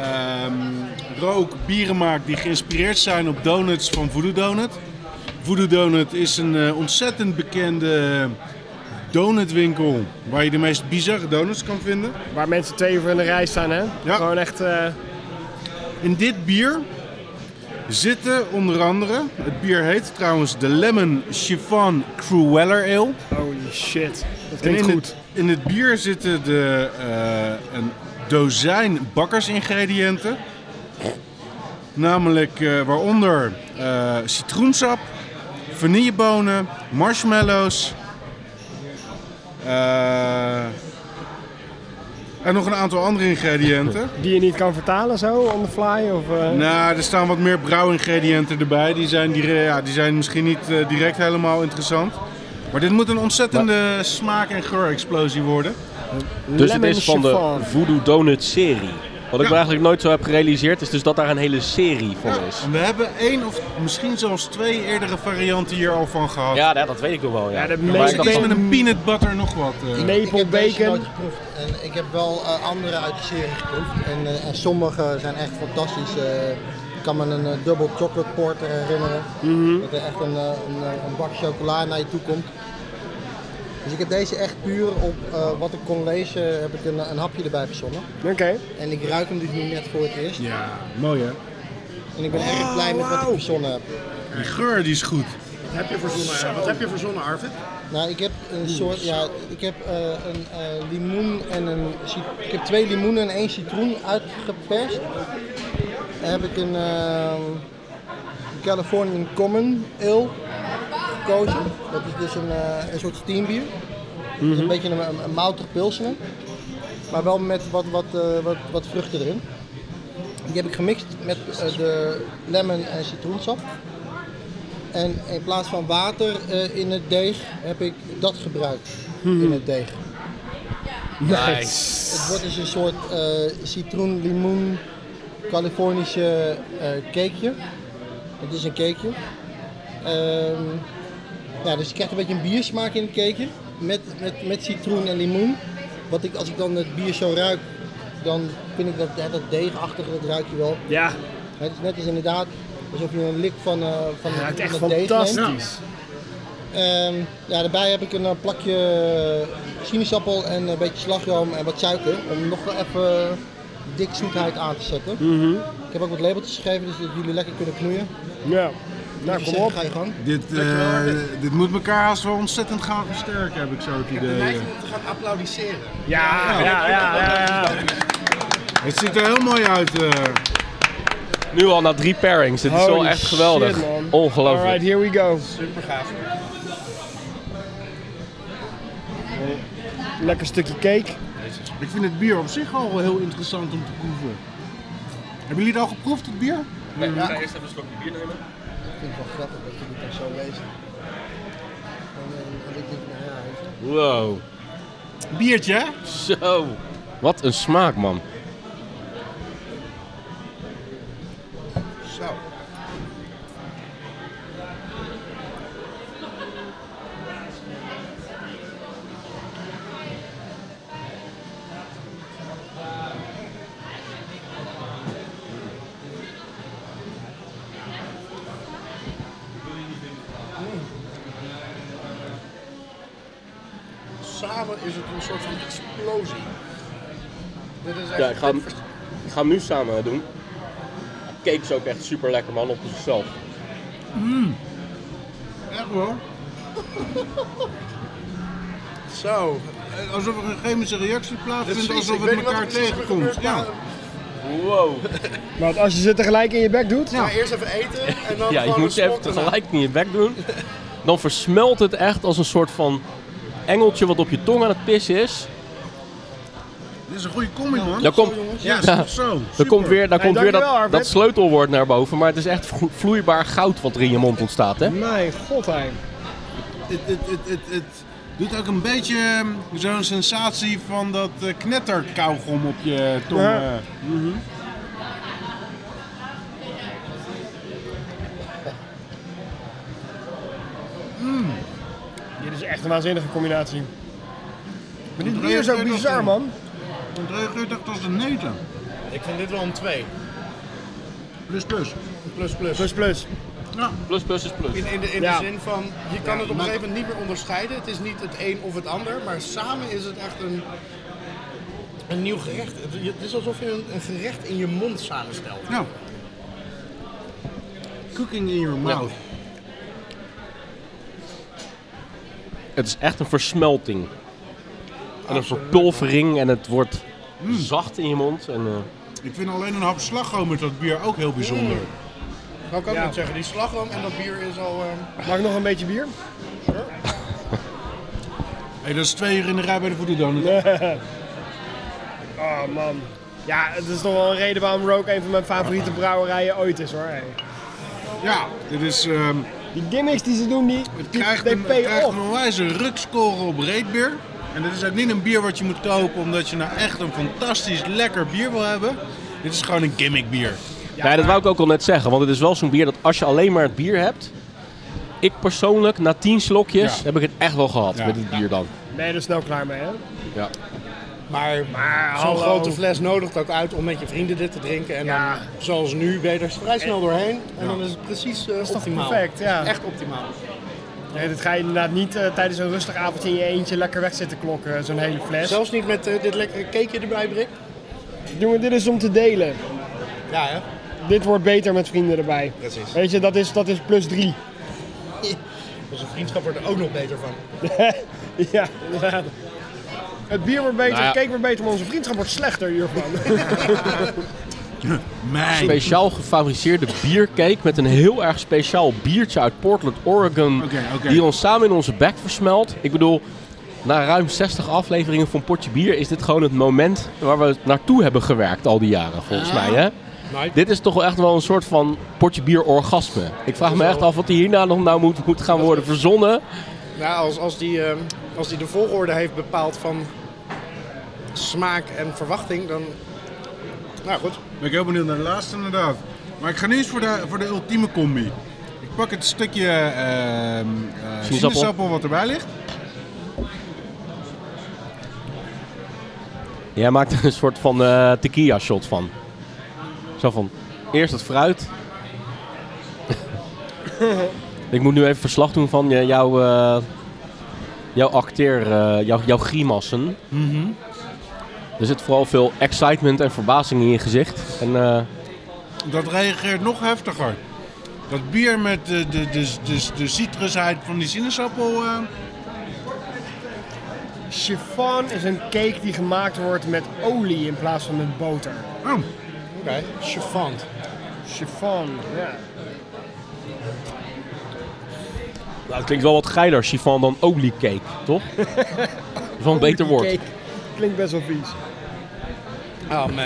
F: ehm, rook bieren maakt die geïnspireerd zijn op donuts van Voodoo Donut. Voodoo Donut is een eh, ontzettend bekende donutwinkel waar je de meest bizarre donuts kan vinden.
C: Waar mensen twee uur in de rij staan hè?
F: Ja.
C: Gewoon echt... eh,
F: In dit bier zitten onder andere, het bier heet trouwens de Lemon Chiffon Crueller Ale.
C: holy shit. Dat
F: En
C: klinkt
F: in
C: goed.
F: het, in het bier zitten de, eh, een dozijn bakkersingrediënten. Namelijk eh, waaronder eh, citroensap, vanillebonen, marshmallows. eh, en nog een aantal andere ingrediënten.
C: Die je niet kan vertalen zo, on the fly? Of, eh,
F: Nou, er staan wat meer brouwingrediënten erbij. Die zijn, dire- ja, die zijn misschien niet eh, direct helemaal interessant. Maar dit moet een ontzettende smaak- en geurexplosie worden.
A: Dus het
C: Lemon
A: is van de
C: chiffon.
A: Voodoo Donut serie. Wat ik
F: Ja.
A: me eigenlijk nooit zo heb gerealiseerd is dus dat daar een hele serie van is.
F: En we hebben één of misschien zelfs twee eerdere varianten hier al van gehad.
A: Ja, dat weet ik nog wel. Ja,
C: Ja,
A: Maar
C: de meeste
A: ik
F: Het
A: dacht
F: is
A: van-
F: met een peanut butter nog wat. eh.
E: ik
C: Maple
E: heb deze nooit
C: bacon.
E: geproefd. En ik heb wel eh, andere uit de serie geproefd. En, eh, en sommige zijn echt fantastisch. Eh, ik kan me een eh, double chocolate porter herinneren. Dat er echt een, eh, een, eh, een bak chocola naar je toe komt. Dus ik heb deze echt puur op eh, wat ik kon lezen, heb ik een, een hapje erbij verzonnen.
C: Oké.
E: En ik ruik hem dus nu net voor het eerst.
F: Ja, mooi hè.
E: En ik ben erg blij met wat ik verzonnen heb.
F: Die geur die is goed.
B: Heb je verzonnen, eh, wat heb je verzonnen, Arvid?
E: Nou, ik heb een soort, ja, ik heb eh, een eh, limoen en een, cit- ik heb twee limoenen en één citroen uitgeperst. Dan heb ik een ehm, Californian Common Ale gekozen. Dat is dus een, eh, een soort steambier. Een beetje een, een, een moutig pilsner. Maar wel met wat, wat, eh, wat, wat vruchten erin. Die heb ik gemixt met eh, de lemon en citroensap. En in plaats van water eh, in het deeg heb ik dat gebruikt in het deeg.
A: Nice.
E: Het wordt dus een soort eh, citroen, limoen, Californische eh, cakeje. Het is een cakeje. Ehm, ja, dus je krijgt een beetje een biersmaak in het cakeje met, met, met citroen en limoen. Wat ik, als ik dan het bier zo ruik, dan vind ik dat, ja, dat deegachtige, dat ruik je wel.
C: Ja,
E: Het is net als inderdaad alsof je een lik van, eh van,
C: het is
E: van het deeg
C: echt
E: neemt.
C: fantastisch.
E: Nou, Ehm, ja, daarbij heb ik een eh, plakje eh, sinaasappel en een beetje slagroom en wat suiker. Om nog wel even eh, dik zoetheid aan te zetten. Ik heb ook wat labeltjes geschreven, dus dat jullie lekker kunnen knoeien.
C: Mhm. Ja.
E: Ik
C: Nou, kom
E: zeg,
C: op.
E: Ga je gang.
F: Dit, eh, dit moet elkaar als wel ontzettend gaan versterken, heb ik zo het idee.
B: om te gaan applaudisseren.
C: Ja, ja, ja, ja. ja.
F: Het ziet er heel mooi uit. eh.
A: Nu al na drie pairings. Dit is wel
C: Holy
A: echt geweldig.
C: shit, man. Alright,
A: Ongelooflijk.
C: here we go.
B: Super gaaf.
C: Eh, Lekker stukje cake.
F: Ik vind het bier op zich al wel heel interessant om te proeven. Hebben jullie het al geproefd, het bier?
A: Ik ga eerst even een slokje bier nemen.
E: Ik vind het wel grappig dat jullie het zo lezen. En, eh, en ik denk, nou ja, weet je.
A: Wow.
F: Biertje, hè?
A: Zo. Wat een smaak, man.
B: Zo. Samen is het een soort van explosie. Dit is echt
A: Ja, ik ga, hem, ik ga hem nu samen doen. Cake is ook echt super lekker, man, op zichzelf.
F: Echt hoor.
B: zo.
F: Eh, Alsof er een chemische reactie
B: Precies,
F: plaatsvindt,
B: ik
F: alsof
B: weet
F: het
B: niet wat er
F: elkaar
B: precies
F: tegenkomt.
B: gebeurt,
F: Ja.
B: maar- nou,
A: Wow.
C: Want als je ze tegelijk in je bek doet,
B: Maar nou, eerst even eten en dan
A: Ja, je
B: gewoon
A: moet ze
B: een
A: even
B: slok erna.
A: tegelijk in je bek doen. Dan versmelt het echt als een soort van engeltje wat op je tong aan het pissen is.
F: Dit is een goede combi, man.
A: Dan komt,
F: Ja,
A: Ja.
F: zo.
A: dan
F: super.
A: komt weer, dan
C: Nee,
A: komt weer
C: dankjewel,
A: dat,
C: Arvid.
A: dat sleutelwoord naar boven. Maar het is echt vlo- vloeibaar goud wat er in je mond ontstaat, hè?
C: Mijn god, hij.
F: Het, het, het, het, het doet ook een beetje eh, zo'n sensatie van dat eh, knetterkauwgom op je tong.
C: Ja.
F: eh.
C: Dit is echt een waanzinnige combinatie.
F: Maar
C: Dit bier is ook bizar, man.
F: Het reageert echt als een neten.
B: Ik vind dit wel een 2.
F: Plus, plus.
B: Plus plus.
C: Plus plus.
A: Plus, plus is plus.
B: In, in, de, in
C: Ja.
B: de zin van, je kan het op een gegeven moment niet meer onderscheiden. Het is niet het een of het ander, maar samen is het echt een, een nieuw gerecht. Het, het is alsof je een, een gerecht in je mond samenstelt.
F: Ja. Cooking in your mouth.
A: Het is echt een versmelting. En een verpulvering en het wordt zacht in je mond. En, eh,
F: Ik vind alleen een hap slagroom met dat bier ook heel bijzonder.
B: Nou kan ik
C: Ja.
B: niet zeggen, die slagroom en dat bier is al... ehm,
C: Mag ik nog een beetje bier?
F: Hey, dat is twee uur in de rij bij de Voodoo Donut.
C: Oh man. Ja, het is toch wel een reden waarom Rook een van mijn favoriete brouwerijen ooit is hoor. hey.
F: Ja, dit is... ehm,
C: Die gimmicks die ze doen, die,
F: het
C: die,
F: krijgt
C: they
F: een, het
C: pay
F: krijgt
C: off.
F: een onwijze rukskorrel op reetbier. En dit is ook niet een bier wat je moet kopen omdat je nou echt een fantastisch lekker bier wil hebben. Dit is gewoon een gimmick bier.
A: Ja, dat wou ik ook al net zeggen. Want het is wel zo'n bier dat als je alleen maar het bier hebt. Ik persoonlijk, na tien slokjes,
F: Ja.
A: heb ik het echt wel gehad
F: Ja.
A: met het bier dan.
C: Ben je er snel klaar mee, hè?
A: Ja.
B: maar
C: Maar
B: zo'n
C: hallo.
B: grote fles nodigt ook uit om met je vrienden dit te drinken. En
C: Ja.
B: dan, zoals nu, ben je er vrij snel doorheen. En dan is het precies eh,
C: toch
B: optimaal.
C: perfect, ja.
B: Echt optimaal.
C: Nee, dat ga je inderdaad niet eh, tijdens een rustig avondje in je eentje lekker weg zitten klokken, zo'n hele fles.
B: Zelfs niet met eh, dit lekkere cakeje erbij, Brik.
C: Jongen, dit is om te delen.
B: Ja, hè?
C: Dit wordt beter met vrienden erbij.
B: Precies.
C: Weet je, dat is, dat is plus drie.
B: Onze vriendschap wordt er ook nog beter van.
C: ja, inderdaad. Het bier wordt beter,
A: Nou ja.
C: de cake wordt beter, maar onze vriendschap wordt slechter hiervan.
F: Mijn.
A: Speciaal gefabriceerde biercake met een heel erg speciaal biertje uit Portland, Oregon.
F: Oké, oké.
A: Die ons samen in onze bek versmelt. Ik bedoel, na ruim 60 afleveringen van Potje Bier is dit gewoon het moment waar we naartoe hebben gewerkt al die jaren, volgens mij. Hè?
B: Nice.
A: Dit is toch wel echt wel een soort van Potje Bier orgasme. Ik vraag me echt af wat hierna nog nou moet, moet gaan worden verzonnen.
B: Ja, als, als, die, ehm, als die de volgorde heeft bepaald van smaak en verwachting, dan... Nou goed,
F: Ben ik heel benieuwd naar de laatste inderdaad. Maar ik ga nu eens voor de, voor de ultieme combi. Ik pak het stukje ehm eh,
A: Sinaasappel.
F: sinaasappel wat erbij ligt.
A: Jij maakt er een soort van eh tequila shot van. Zo van, eerst het fruit. Ik moet nu even verslag doen van eh, jouw, eh, jouw acteer, eh, jouw, jouw grimassen. Er zit vooral veel excitement en verbazing in je gezicht. En eh,
F: Dat reageert nog heftiger. Dat bier met de, de, de, de, de citrusheid van die sinaasappel. eh,
C: Chiffon is een cake die gemaakt wordt met olie in plaats van met boter.
F: oh,
B: oké. Chiffant.
C: Chiffon, ja.
A: nou, het klinkt wel wat geiler, chiffon, dan oliecake, toch? Dat is wel een beter woord.
C: Cake klinkt best wel vies.
B: Oh man.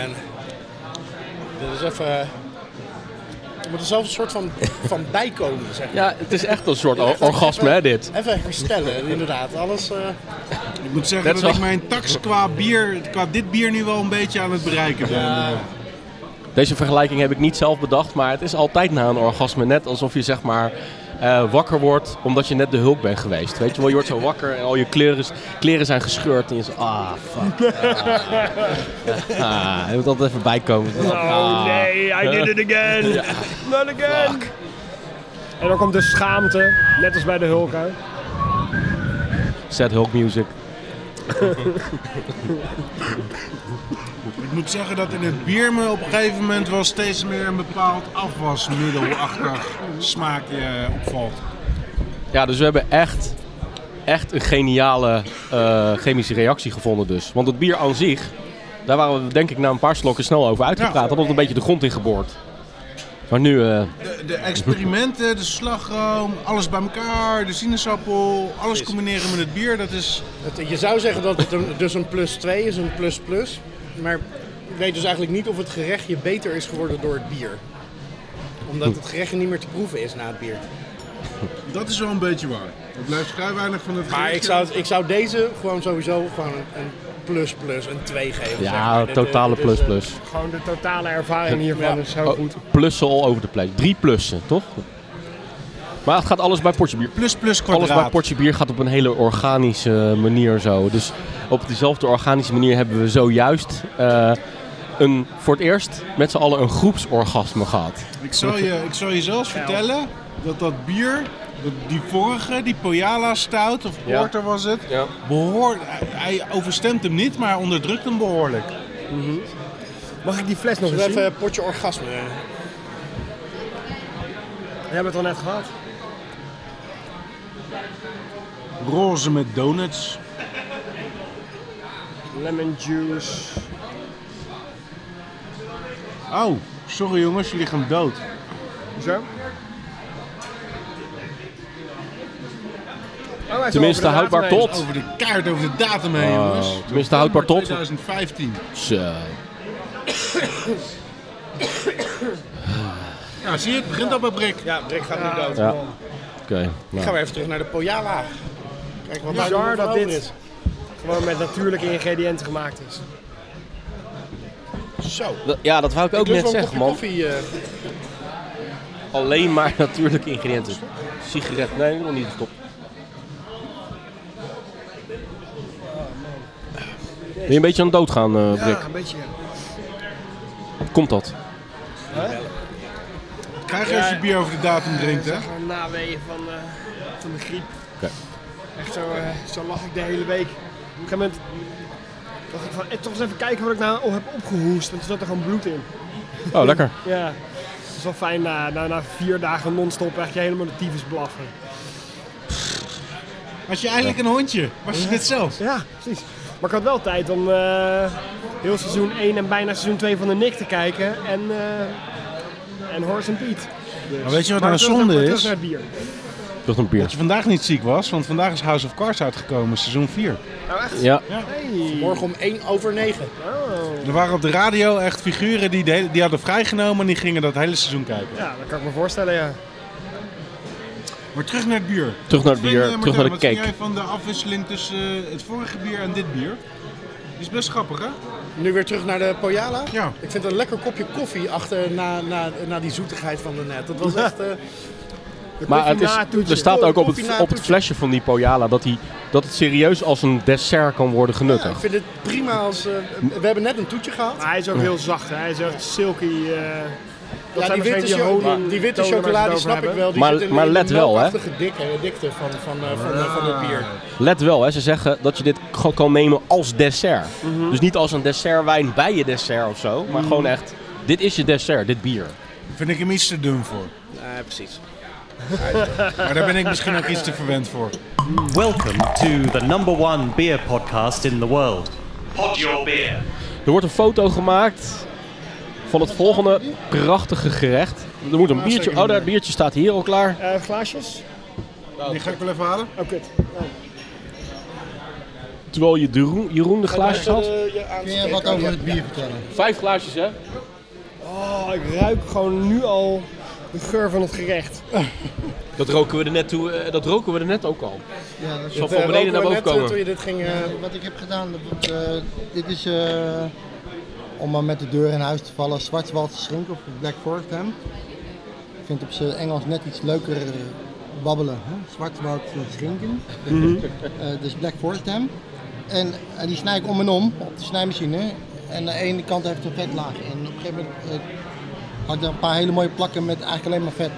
B: Dit is even... Er moet er zelfs een soort van, van bijkomen, zeg maar.
A: Ja, het is echt een soort or-
B: Even-
A: Oh, orgasme, hè, dit.
B: Even herstellen, inderdaad. Alles... eh,
F: ik moet zeggen
A: Dat
F: dat,
A: is
F: ik
A: wel-
F: mijn tax qua, bier, qua dit bier nu wel een beetje aan het bereiken ben.
A: Deze vergelijking heb ik niet zelf bedacht, maar het is altijd na een orgasme net alsof je zeg maar eh, wakker wordt omdat je net de hulk bent geweest. Weet je wel, je wordt zo wakker en al je kleren, kleren zijn gescheurd en je zegt, ah fuck. Ah, ah, je moet altijd even bijkomen. Ah,
C: Oh nee, I did it again. Not again. En dan komt de schaamte, net als bij de Hulk uit.
A: Set hulk music.
F: Ik moet zeggen dat in het bier me op een gegeven moment wel steeds meer een bepaald afwasmiddelachtig smaakje eh, opvalt.
A: Ja, dus we hebben echt, echt een geniale eh, chemische reactie gevonden dus. Want het bier aan zich, daar waren we denk ik na een paar slokken snel over uitgepraat. Dat had een beetje de grond in geboord. Maar nu... eh,
F: De, de experimenten, de slagroom, alles bij elkaar, de sinaasappel, alles combineren met het bier, dat is...
B: Het- je zou zeggen dat het een, dus een plus 2 is, een plus plus. Maar ik weet dus eigenlijk niet of het gerechtje beter is geworden door het bier. Omdat het gerechtje niet meer te proeven is na het bier.
F: Dat is wel een beetje waar. Het blijft vrij weinig van het
B: Maar ik
F: gerechtje.
B: zou, ik zou deze gewoon sowieso gewoon een, een plus plus, een 2 geven. zeg
A: ja,
B: maar. Dit, eh,
A: totale
B: dit is,
A: plus
B: eh,
A: plus.
C: Gewoon de totale ervaring hiervan
B: Ja.
C: is zo
A: Oh,
C: goed.
A: Plussen all over the place. Drie plussen, toch? Maar het gaat alles bij Portje Bier.
F: Plus plus
A: Alles bij
F: kwadraat.
A: Portje Bier gaat op een hele organische manier zo. Dus op dezelfde organische manier hebben we zojuist eh, een, voor het eerst met z'n allen een groepsorgasme gehad.
F: Ik zal je, ik zal je zelfs vertellen dat dat bier, dat die vorige, die Poyala stout of
A: Ja.
F: porter was het,
A: Ja.
F: behoor, hij hij overstemt hem niet, maar hij onderdrukt hem behoorlijk.
C: Mag ik die fles nog eens
B: Zullen we
C: zien?
B: even een potje orgasme.
C: We hebben het al net gehad.
F: Roze met donuts.
C: Lemon juice.
F: Oh, sorry jongens, jullie gaan dood.
C: Zo. Oh, hij is
A: Tenminste,
C: wel over de
A: houdbaar
C: datum heen.
A: tot.
F: Over de kaart, over de datum heen
A: Oh,
F: jongens.
A: tenminste, houdbaar tot.
F: 2015.
A: Zo.
F: Ja, zie je, het begint al bij Brik.
B: Ja, Rick gaat nu dood.
A: Ja. Oké.
B: Gaan
A: nou.
B: we even terug naar de Poyala. Kijk wat daar
C: Bizar
B: nog
C: dat
B: over
C: dit
B: is.
C: gewoon met natuurlijke ingrediënten gemaakt is.
B: Zo.
A: Dat- Ja, dat wou ik ook
B: Dus
A: net
B: wel een kopje
A: zeggen, man.
B: koffie. eh.
A: Alleen maar natuurlijke ingrediënten. Sigaret, nee, nog niet gestopt. Ben je een beetje aan het doodgaan, eh Brik?
C: een beetje.
A: Komt dat?
C: Het
F: krijg je als je bier over de datum drinkt, hè?
C: Een naweeën van, eh, van de griep.
A: Oké.
C: Echt zo, eh, zo lag ik de hele week. Op een gegeven moment dacht ik van, eh, toch eens even kijken wat ik nou heb opgehoest. Want er zat er gewoon bloed in.
A: Oh, lekker.
C: Ja, dat is wel fijn. Na, na, na vier dagen non-stop krijg je helemaal de tyfus blaffen.
F: Had je eigenlijk een hondje? Was je dit zelf?
C: Ja, precies. Maar ik had wel tijd om eh, heel seizoen 1 en bijna seizoen 2 van de Nick te kijken. En, eh, en Horse and Pete. Dus-
F: Maar weet je wat
C: maar
F: nou
C: terug-
F: zonde
C: maar terug
F: is?
C: naar het bier.
A: Toch een
F: Dat
A: bier.
F: je vandaag niet ziek was, want vandaag is House of Cards uitgekomen, seizoen 4.
C: Nou echt?
A: Ja.
C: Hey.
B: Morgen om 1 over 9.
C: Oh.
F: Er waren op de radio echt figuren die, de hele- die hadden vrijgenomen en die gingen dat hele seizoen kijken.
C: Ja, dat kan ik me voorstellen, ja.
F: Maar terug naar het bier.
A: Terug naar het bier,
F: Vind, eh,
A: terug naar de
F: Martijn, Wat vind
A: cake.
F: jij van de afwisseling tussen eh, het vorige bier en dit bier? Die is best grappig, hè?
B: Nu weer terug naar de Poyala.
F: Ja.
B: Ik vind een lekker kopje koffie achter na, na, na die zoetigheid van de net. Dat was echt... eh,
A: Maar het is,
C: na het toetje.
A: er staat ook op
B: Koffie na
A: het,
B: het
A: op het
B: toetje.
A: flesje van die Poyala dat, die, dat het serieus als een dessert kan worden
B: ja, ik
A: genuttigd.
B: vind het prima als... eh, we hebben net een toetje gehad.
C: Maar hij is ook heel zacht, hè. hij is echt silky. eh, dat
B: Ja,
C: zijn
B: die witte,
C: waarschijnlijk
B: cho-
C: honing-
B: die witte
C: tonen waar ze het
B: chocolade
C: over
B: snap ik
C: hebben.
B: wel. Die
A: Maar-
B: zit in de-
A: maar
B: in
A: let
B: de
A: wel, hè?
B: melkachtige dikke, dikte van, van, eh, van, eh, van
C: Ah.
B: het bier.
A: Let wel, hè, ze zeggen dat je dit gewoon kan nemen als dessert. Dus niet als een dessertwijn bij je dessert of zo, maar gewoon echt, dit is je dessert, dit bier.
F: Vind ik hem iets te dun voor.
B: Ja, precies.
F: Maar daar ben ik misschien ook iets te verwend voor.
D: Welcome to the number one beer podcast in the world. Pod Your Beer.
A: Er wordt een foto gemaakt van het volgende prachtige gerecht. Er moet een biertje, oh dat biertje staat hier al klaar.
C: Eh, glaasjes?
F: Die ga ik wel even halen.
C: Oh, kut.
A: Terwijl je Jeroen, Jeroen de glaasjes had.
C: eh,
E: Kun je wat over het bier vertellen?
A: Vijf glaasjes hè?
C: Oh, ik ruik gewoon nu al de geur van het gerecht.
A: Dat roken we er net, toe, eh, dat roken we er net ook al.
E: Ja, dat is-
A: Zal van beneden naar boven komen.
B: Toen je dit ging... eh,
E: Wat ik heb gedaan, dat, eh, dit is eh, om maar met de deur in huis te vallen, Zwartwaldse Schink of Black Forest Ham. Ik vind op zijn Engels net iets leuker eh, babbelen, hè? Zwartwald Schinken. Eh, dus Black Forest Ham. En eh, die snij ik om en om op de snijmachine. En de ene kant heeft een vetlaag. En op een gegeven moment eh, had ik er een paar hele mooie plakken met eigenlijk alleen maar vet.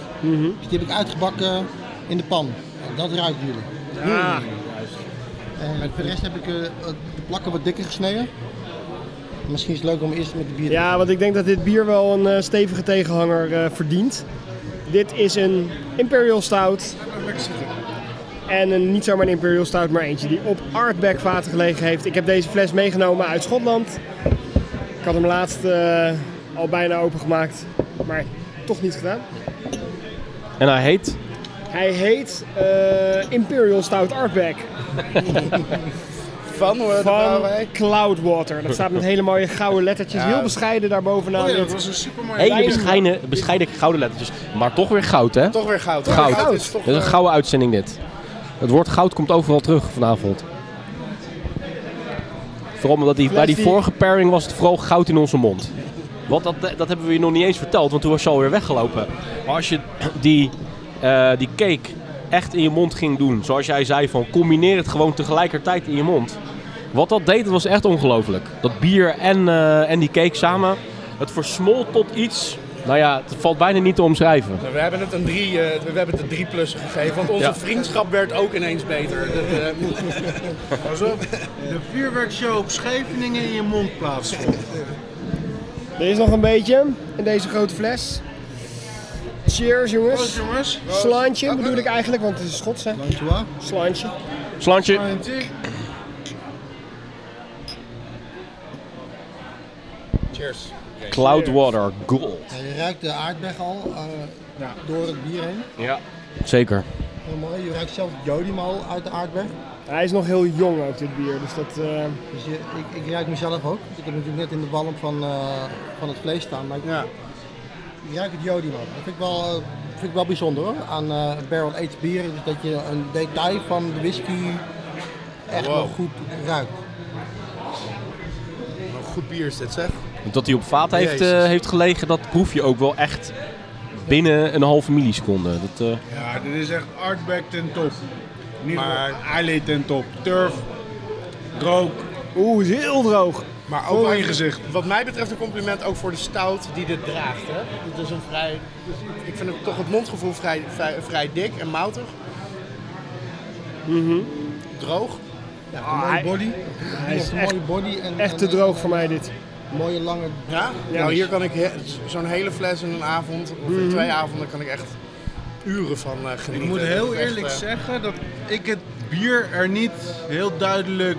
E: Dus die heb ik uitgebakken in de pan. En dat ruikt jullie.
C: Ja,
E: En voor de rest heb ik eh, de plakken wat dikker gesneden. Misschien is het leuk om eerst met de bier te
C: ja want ik denk dat dit bier wel een eh, stevige tegenhanger eh, verdient. Dit is een Imperial Stout. En een, niet zomaar een Imperial Stout, maar eentje die op Artback vaten gelegen heeft. Ik heb deze fles meegenomen uit Schotland. Ik had hem laatst eh, al bijna opengemaakt, maar toch niet gedaan.
A: En hij heet
C: Hij heet eh, Imperial Stout Artback.
B: van hoor, de
C: van
B: Brouwerij.
C: Cloudwater. Dat staat met hele mooie gouden lettertjes, heel bescheiden daarbovenaan.
F: Oh ja, dat
C: Dit-
F: was een supermooi.
A: hele
C: Wijn-
A: bescheiden, bescheiden gouden lettertjes, maar toch weer goud hè?
B: Toch weer goud. hè?
A: Goud.
B: is toch...
A: Dit is een
B: eh,
A: gouden uitzending dit. Het woord goud komt overal terug vanavond. Vooral omdat die, bij die vorige pairing was het vooral goud in onze mond. Want dat, dat hebben we je nog niet eens verteld, want toen was je alweer weggelopen. Maar als je die, eh, die cake echt in je mond ging doen, zoals jij zei van combineer het gewoon tegelijkertijd in je mond. Wat dat deed, dat was echt ongelooflijk. Dat bier en, eh, en die cake samen, het versmolt tot iets, nou ja, het valt bijna niet te omschrijven.
B: We hebben het een 3 we hebben het een drie plus gegeven, want onze
A: Ja.
B: vriendschap werd ook ineens beter. Dat, eh,
F: Alsof de vuurwerkshow op Scheveningen in je mond plaatsvond.
C: Er is nog een beetje in deze grote fles. Cheers
F: Proost,
C: jongens.
F: jongens.
C: Slantje bedoel ik eigenlijk, want het is Schots hè.
E: Dankjewel.
C: Slantje.
A: Slantje.
B: cheers.
A: Cloudwater Gold.
E: Ja, je ruikt de aardbeg al eh, door het bier heen.
A: Ja. Zeker.
E: Heel mooi. Je ruikt zelfs jodium al uit de aardbeg.
C: Hij is nog heel jong ook dit bier, dus dat... eh,
E: Dus je, ik, ik ruik mezelf ook. Ik heb natuurlijk net in de walm van, eh, van het vlees staan. Maar ik,
B: Ja.
E: ik ruik het jodium al. Dat vind ik wel, eh, vind ik wel bijzonder hoor. Aan eh barrel aged bieren. Dus dat je een detail van de whisky echt wel goed ruikt.
B: Wat een Goed bier is dit zeg.
A: Dat hij op vaat heeft,
B: Jezus.
A: eh, heeft gelegen, dat proef je ook wel echt binnen een halve milliseconde. Dat, eh,
F: Ja, dit is echt artback ten top. Niet
B: Maar-
F: maar eilee ten top. Turf, rook.
C: Oeh, is heel droog.
B: Maar
F: Vol
B: ook
F: in je gezicht.
B: Wat mij betreft een compliment ook voor de stout die dit draagt. Hè? Het is een vrij, ik vind het toch het mondgevoel vrij, vrij, vrij dik en moutig.
F: Mhm.
B: Droog.
E: Ja,
C: Ah,
E: een mooie
C: hij-
E: body.
C: hij is
E: Of een
C: echt-
E: mooie body en,
C: Echt te
E: en-
C: droog voor mij dit.
E: mooie lange...
B: Ja?
C: Ja.
B: Nou, hier kan ik he- zo'n hele fles in een avond, of in twee avonden, kan ik echt uren van eh,
F: Mhm. Ik
B: genieten.
F: moet heel
B: Dat is echt,
F: eerlijk
B: eh,
F: zeggen dat ik het bier er niet heel duidelijk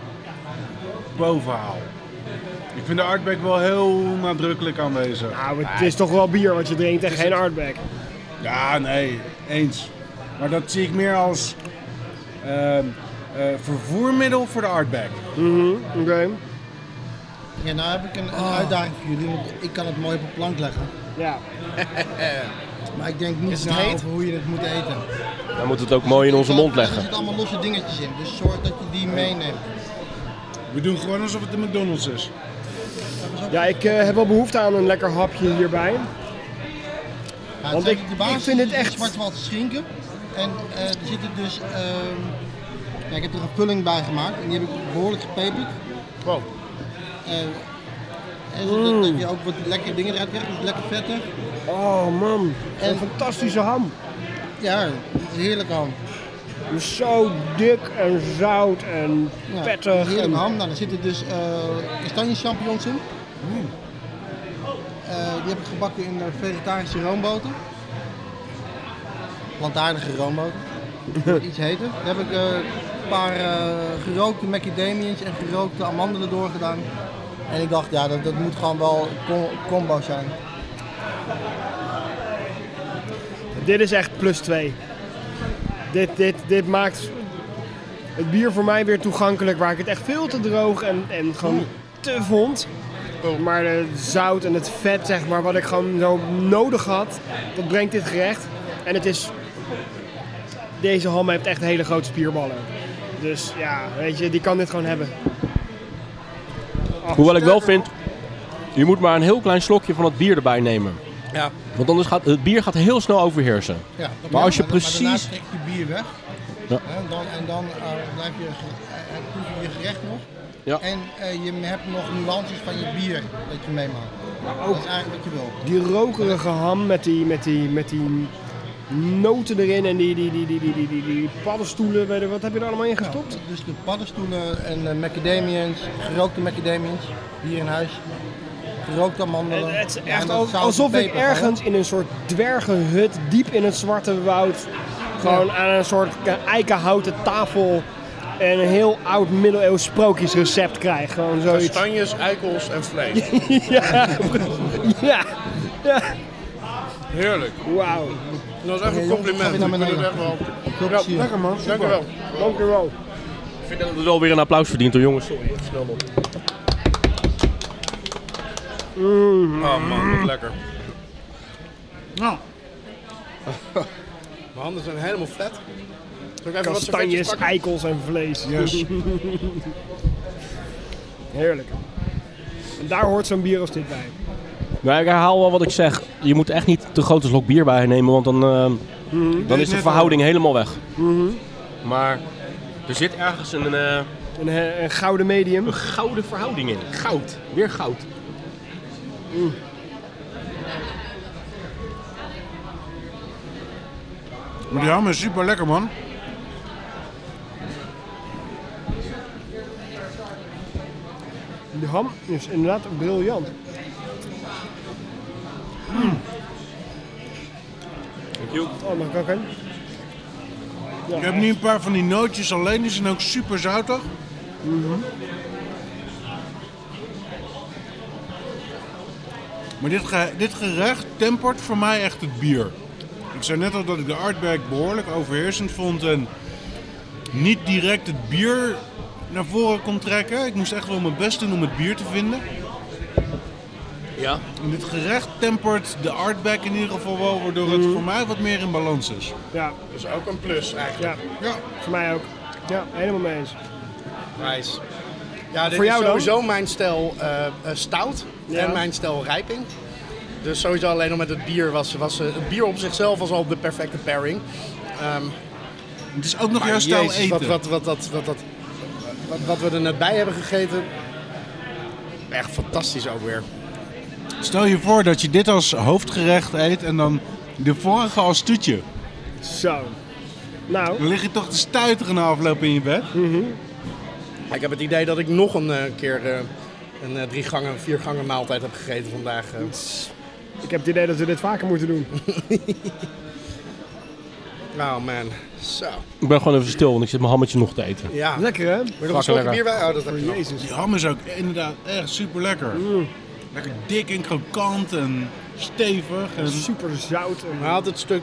F: boven haal. Ik vind de artback wel heel nadrukkelijk aanwezig.
C: Nou, het is toch wel bier wat je drinkt en geen hardback.
F: Ja, nee, eens. Maar dat zie ik meer als ehm, eh, vervoermiddel voor de artback.
C: Oké.
E: Ja, nou heb ik een,
C: Oh.
E: een uitdaging voor jullie, want ik kan het mooi op een plank leggen.
C: Ja.
E: Maar ik denk niet
B: het
E: na
C: nou-
B: heet?
E: over hoe je het moet eten.
A: Dan moeten we het ook mooi in onze mond
E: Er
A: leggen.
E: zitten allemaal losse dingetjes in, dus zorg dat je die meeneemt. Nou,
F: We doen gewoon alsof het de McDonald's is.
C: Ja, ik eh, heb wel behoefte aan een lekker hapje hierbij.
E: Ja,
C: Want
E: het zijn
C: ik-
E: de basis
C: ik vind het
E: die
C: echt-
E: Zwartwald schinken. En eh, er zitten dus. ehm, ja, ik heb er een vulling bij gemaakt en die heb ik behoorlijk gepeperd.
B: wow.
E: Eh, en zodat
C: Mm.
E: dat je ook wat lekkere dingen eruit krijgt, dus lekker vettig.
C: Oh man,
E: En-
C: een fantastische ham.
E: Ja, het is heerlijk ham.
C: Zo dik en zout en
E: Ja,
C: pettig.
E: Heerlijk
C: en-
E: ham. Nou, er zitten dus eh kastanje champignons in. Eh, die heb ik gebakken in eh, vegetarische roomboter. Plantaardige roomboter. Wordt Iets heter. Daar heb ik eh, een paar eh, gerookte macadamians en gerookte amandelen doorgedaan. En ik dacht, ja, dat, dat moet gewoon wel een com- combo zijn.
C: Dit is echt plus 2. Dit, dit, dit maakt het bier voor mij weer toegankelijk waar ik het echt veel te droog en, en gewoon te vond. Maar het zout en het vet, zeg maar, wat ik gewoon zo nodig had, dat brengt dit gerecht. En het is. Deze ham heeft echt hele grote spierballen. Dus ja, weet je, die kan dit gewoon hebben.
A: Hoewel ik wel vind, je moet maar een heel klein slokje van het bier erbij nemen.
B: Ja.
A: Want anders gaat het bier gaat heel snel overheersen.
E: Ja,
A: Maar als je
E: dan- daarna
A: precies-
E: trek je bier weg.
A: Ja.
E: En dan, en dan eh, blijf je, ge- eh, eh, proef je je gerecht nog.
A: Ja.
E: En eh, je hebt nog nuances van je bier dat je meemaakt. Dat is eigenlijk wat je wil.
C: Die rokerige ham met die, met die, met die noten erin en die, die, die, die, die, die, die, die paddenstoelen, weet ik, wat heb je er allemaal in gestopt?
E: Ja, dus de paddenstoelen en eh, macadamians, gerookte macadamians hier in huis. Gerookte amandelen.
C: Het, het is
E: Ja, en
C: echt
E: dat
C: ook
E: zout en
C: alsof ik
E: peper, hè?
C: ergens in een soort dwergenhut diep in het zwarte woud gewoon aan een soort ke- eikenhouten tafel en een heel oud middeleeuws sprookjesrecept krijg. Gewoon zoiets.
B: Kastanjes, eikels en vlees.
C: Ja, ja, ja.
B: Heerlijk.
C: Wauw.
B: Dat is echt een
E: jongens,
B: compliment.
E: ik
B: Ik
E: ga weer naar
B: vind het
E: beneden.
B: echt wel.
E: Veel
B: Ja,
E: plezier.
B: lekker man. Dank u wel.
C: Dankjewel.
A: Ik vind dat het wel weer een applaus verdient hoor jongens. Sorry, snel op.
B: Oh man,
C: Mm.
B: wat lekker.
F: Nou,
B: Mijn handen zijn helemaal vet. Zal ik even wat servetjes
C: Kastanjes,
B: pakken?
C: eikels en vlees.
F: Yes.
C: Heerlijk. En daar hoort zo'n bier als dit bij.
A: Maar ik herhaal wel wat ik zeg. Je moet echt niet te grote slok bier bij nemen, want dan, eh, dan is de
F: net
A: verhouding helemaal weg. Mhm. Maar er zit ergens een, eh,
C: Een, eh, een gouden medium.
A: een gouden verhouding in. Goud. Weer goud.
F: maar die ham is super lekker man.
C: De ham is inderdaad briljant. Oh, mag ik ook heen?
F: Ik heb nu een paar van die nootjes alleen, die zijn ook super zoutig. Maar dit, ge- dit gerecht tempert voor mij echt het bier. Ik zei net al dat ik de artback behoorlijk overheersend vond en niet direct het bier naar voren kon trekken. Ik moest echt wel mijn best doen om het bier te vinden.
A: Ja.
F: En dit gerecht tempert de artback in ieder geval wel, waardoor
B: Mhm.
F: het voor mij wat meer in balans is.
C: Ja,
B: Dat is ook een plus eigenlijk.
C: ja, voor mij ook. Ja, helemaal mee eens.
B: Nice. Ja, dit
C: Voor jou
B: is
C: dan?
B: sowieso mijn stijl eh, eh, stout
C: Ja.
B: en mijn stijl rijping. Dus sowieso alleen al met het bier was, was eh, het bier op zichzelf was al de perfecte pairing. Ehm,
F: Het is ook nog
B: maar
F: jouw stijl
B: jezus,
F: eten.
B: Wat, wat, wat, wat, wat, wat, wat we er net bij hebben gegeten. Echt fantastisch ook weer.
F: Stel je voor dat je dit als hoofdgerecht eet en dan de vorige als toetje.
C: Zo. Nou,
F: Dan lig je toch te stuiteren na afloop in je bed.
B: Ik heb het idee dat ik nog een eh, keer eh, een eh, drie gangen, vier gangen maaltijd heb gegeten vandaag. eh.
C: ik heb het idee dat we dit vaker moeten doen.
B: Nou man, zo.
A: Ik ben gewoon even stil, want ik zit mijn hammetje nog te eten.
B: Ja. Wil
C: Lekker hè?
B: je nog een slokje
A: lekker.
B: bier bij? Oh, dat heb je nog.
C: Jezus.
F: Die ham is ook inderdaad echt super lekker.
C: Mm.
F: Lekker dik en krokant en stevig. En...
C: Super zout. en-
B: Hij had het stuk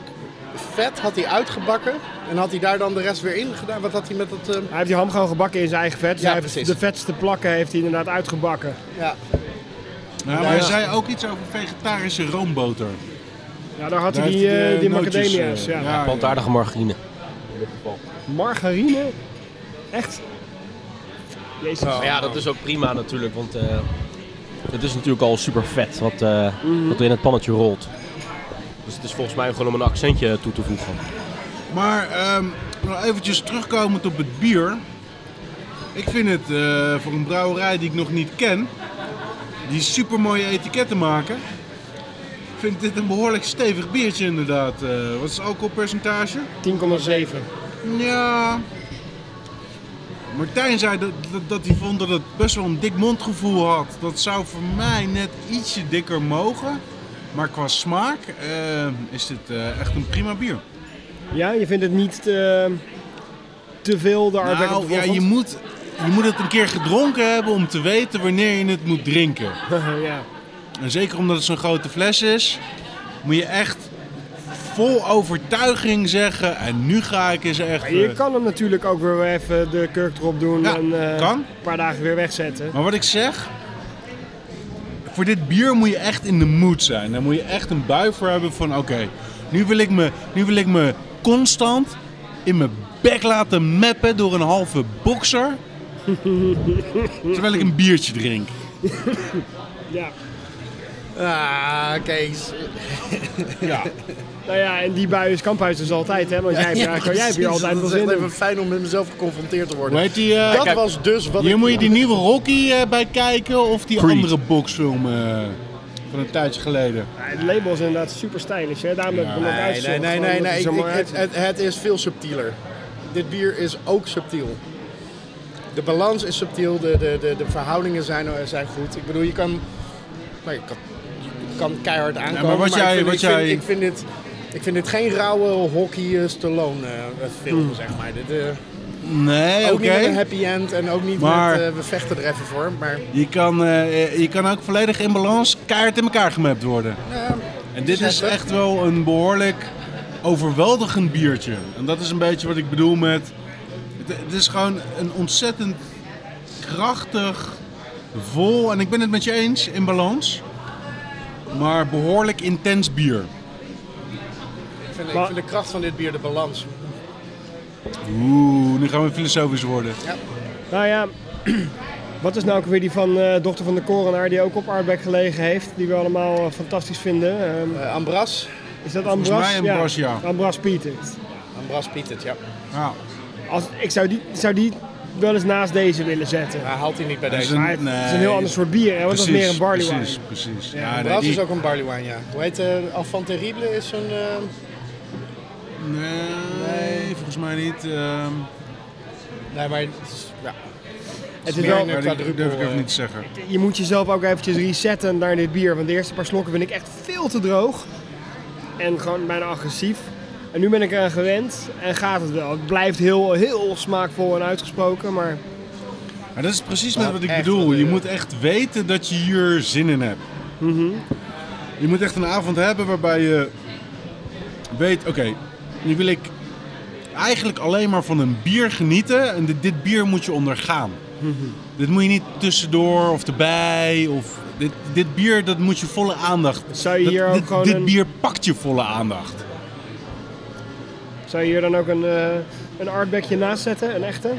B: vet had hij uitgebakken en had hij daar dan de rest weer in gedaan. Wat had hij met dat... eh,
C: Hij heeft die ham gewoon gebakken in zijn eigen vet. Dus
B: Ja,
C: hij heeft
B: precies.
C: de vetste plakken heeft hij inderdaad uitgebakken.
B: ja.
F: Ja, maar hij zei ook iets over vegetarische roomboter.
C: Ja, daar had
F: Daar
C: hij die,
F: heeft hij
C: eh,
F: de
C: die
F: nootjes,
C: macadamia's.
F: eh,
C: ja.
F: ja.
A: Plantaardige margarine.
C: Margarine? Echt? Jezus.
B: Oh.
A: Maar ja, dat is ook prima natuurlijk, want eh, het is natuurlijk al super vet wat, eh, wat in het pannetje rolt. Dus het is volgens mij gewoon om een accentje toe te voegen.
F: Maar ehm, nog eventjes terugkomend op het bier. Ik vind het eh, voor een brouwerij die ik nog niet ken, die super mooie etiketten maken. Vind dit een behoorlijk stevig biertje inderdaad. Eh, wat is het alcoholpercentage?
C: 10,7.
F: Ja. Martijn zei dat, dat, dat hij vond dat het best wel een dik mondgevoel had. Dat zou voor mij net ietsje dikker mogen. Maar qua smaak eh, is dit eh, echt een prima bier.
C: Ja, je vindt het niet eh, te veel de arbeid op
F: Nou,
C: de
F: ja, je,
C: voorgrond?
F: moet, je moet het een keer gedronken hebben om te weten wanneer je het moet drinken.
C: ja.
F: En zeker omdat het zo'n grote fles is, moet je echt vol overtuiging zeggen. En nu ga ik eens echt.
C: Maar je
F: eh,
C: kan hem natuurlijk ook weer even de kurk erop doen
F: Ja,
C: en eh,
F: kan.
C: een paar dagen weer wegzetten.
F: Maar wat ik zeg, voor dit bier moet je echt in de mood zijn. Daar moet je echt een bui voor hebben van oké, nu, wil ik me- nu wil ik me constant in mijn bek laten meppen door een halve bokser. terwijl ik een biertje drink.
C: Ja.
B: Ah, Kees.
C: Nou ja, en die bui is kamphuis dus altijd, hè? Want jij, hebt- ja, jij hebt hier
B: precies.
C: altijd
B: Het
C: wel
B: is
C: zin
B: echt
C: in.
B: even fijn om met mezelf geconfronteerd te worden.
F: Hoe heet die? eh,
B: dat
F: kijk,
B: was dus wat
F: hier
B: ik...
F: moet je die nieuwe Rocky eh, bij kijken of die
A: Creed.
F: andere boxfilm eh, van een tijdje geleden.
C: Ja, het label is inderdaad super stylish, hè? Daarom heb ik hem ook
B: Nee, nee,
C: uitgezocht,
B: nee,
C: gewoon
B: nee.
C: omdat
B: nee.
C: hij
B: Ik,
C: zo mooi
B: ik- het,
C: uitziet.
B: het, het is veel subtieler. Dit bier is ook subtiel. De balans is subtiel, de, de, de, de verhoudingen zijn, eh, zijn goed. Ik bedoel, je kan, nou, je kan, je kan keihard aankomen.
F: maar wat
B: ik
F: jij-
B: vind,
F: wat
B: ik vind-
F: jij-
B: ik vind dit, ik vind dit geen rauwe hockey eh, Stallone eh, film, zeg maar. Dit, eh,
F: Nee,
B: ook
F: oké.
B: niet met een happy end en ook niet
F: Maar-
B: met eh, we vechten er even voor. Maar
F: Je kan, eh, je kan ook volledig in balans keihard in elkaar gemapt worden. en dit is echt wel een behoorlijk overweldigend biertje. En dat is een beetje wat ik bedoel met... Het, het is gewoon een ontzettend krachtig, vol... En ik ben het met je eens, in balans. Maar behoorlijk intens bier.
B: ik vind, ik
C: Maar-
B: vind de kracht van dit bier de balans.
F: Oeh, nu gaan we filosofisch worden.
C: Nou ja, wat is nou ook weer die van eh, dochter van de korenaar die ook op Aardbek gelegen heeft, die we allemaal eh, fantastisch vinden. Ehm,
B: Eh, Ambras,
C: is dat
F: Volgens
C: Ambras?
F: mij Ambras, ja.
C: Ambras Pieters.
B: Ambras Pietert, ja.
F: Ja,
C: Als, ik zou die, zou die wel eens naast deze willen zetten.
B: Hij haalt hij niet bij
F: dat
B: deze.
C: Maar het is een heel ander soort bier, hè? want dat is meer een barley wine.
F: eh, Precies, precies. Ja, nee,
B: Bras
F: die-
B: is ook een barley wine, ja. Hoe heet eh Alfant Terrible is zo'n... eh,
F: nee, volgens mij niet. ehm.
B: Nee, maar... het is- Ja.
C: Het is
B: Meer
C: wel,
B: een-
F: Maar
B: qua
F: dat
B: druppel,
F: durf ik
B: eh.
F: even niet te zeggen.
C: je moet jezelf ook eventjes resetten naar dit bier, want de eerste paar slokken vind ik echt veel te droog. En gewoon bijna agressief. En nu ben ik eraan gewend en gaat het wel. Het blijft heel, heel smaakvol en uitgesproken, maar
F: Maar dat is precies met wat ik
B: echt
F: bedoel.
B: wat,
F: Je
B: eh,
F: moet echt weten dat je hier zin in hebt.
C: Mhm.
F: Je moet echt een avond hebben waarbij je weet, oké, nu wil ik eigenlijk alleen maar van een bier genieten. En dit, dit bier moet je ondergaan.
C: Mhm.
F: Dit moet je niet tussendoor of erbij of... Dit, dit bier, dat moet je volle aandacht.
C: Zou je
F: Dat-
C: hier ook
F: dit,
C: gewoon
F: dit
C: een-
F: bier pakt je volle aandacht.
C: zou je hier dan ook een, eh een artbackje naast zetten, een echte?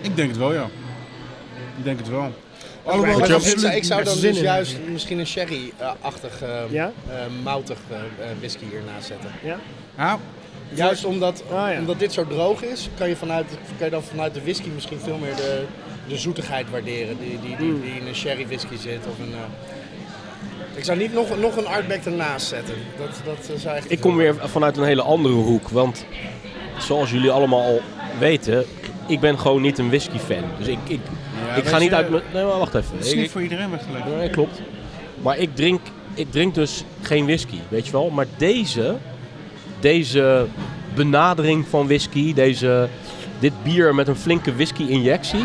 F: Ik denk het wel, ja. Ik denk het wel. Alhoewel,
B: Maar
F: het
B: dan
F: absoluut
B: zou- ik zou
C: best
B: dan
C: zin
B: dus
C: in
B: juist misschien een sherry-achtig, eh
C: Ja?
B: eh, moutig eh, eh, whisky hiernaast zetten.
C: Ja?
F: Ja,
B: Juist omdat,
C: Ah, ja.
B: omdat dit zo droog is, kan je, vanuit, kan je dan vanuit de whisky misschien veel meer de, de zoetigheid waarderen die, die, die, die in een sherry whisky zit. Of een, eh, Ik zou niet nog, nog een artback ernaast zetten. Dat, dat eh, zou echt
A: Ik kom weer vanuit een hele andere hoek. Want zoals jullie allemaal al weten, ik ben gewoon niet een whisky fan. Dus ik, ik, ik ga
F: weet
A: niet
F: je,
A: uit mijn. Nee, maar wacht even.
F: Het is
A: Ik-
F: niet voor iedereen weggelegd.
A: Nee, klopt. Maar ik drink, ik drink dus geen whisky, weet je wel. Maar deze, deze benadering van whisky, deze, dit bier met een flinke whisky-injectie,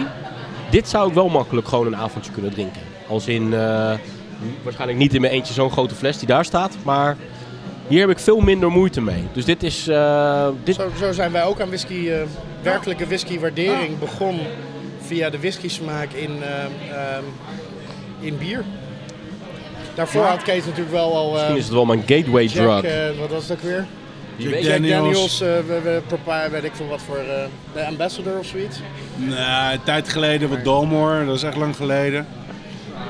A: dit zou ik wel makkelijk gewoon een avondje kunnen drinken. Als in, eh, waarschijnlijk niet in mijn eentje zo'n grote fles die daar staat, maar hier heb ik veel minder moeite mee. Dus dit is, eh, dit,
B: Zo, zo zijn wij ook aan whisky, eh, werkelijke whiskywaardering
F: Ah.
B: begon via de whisky-smaak in, eh, ehm, in bier. Daarvoor had Kees natuurlijk wel al eh
A: misschien is het wel mijn gateway
B: Jack,
A: drug.
B: eh, wat was dat ook weer?
A: Die
F: Jack
A: weet-
B: Jack
F: Daniels.
B: Daniels, eh, we- we- propa- weet ik veel wat voor, eh, de ambassador of zoiets.
F: Nou, Nee, een tijd geleden wat Dalmor, dat is echt lang geleden.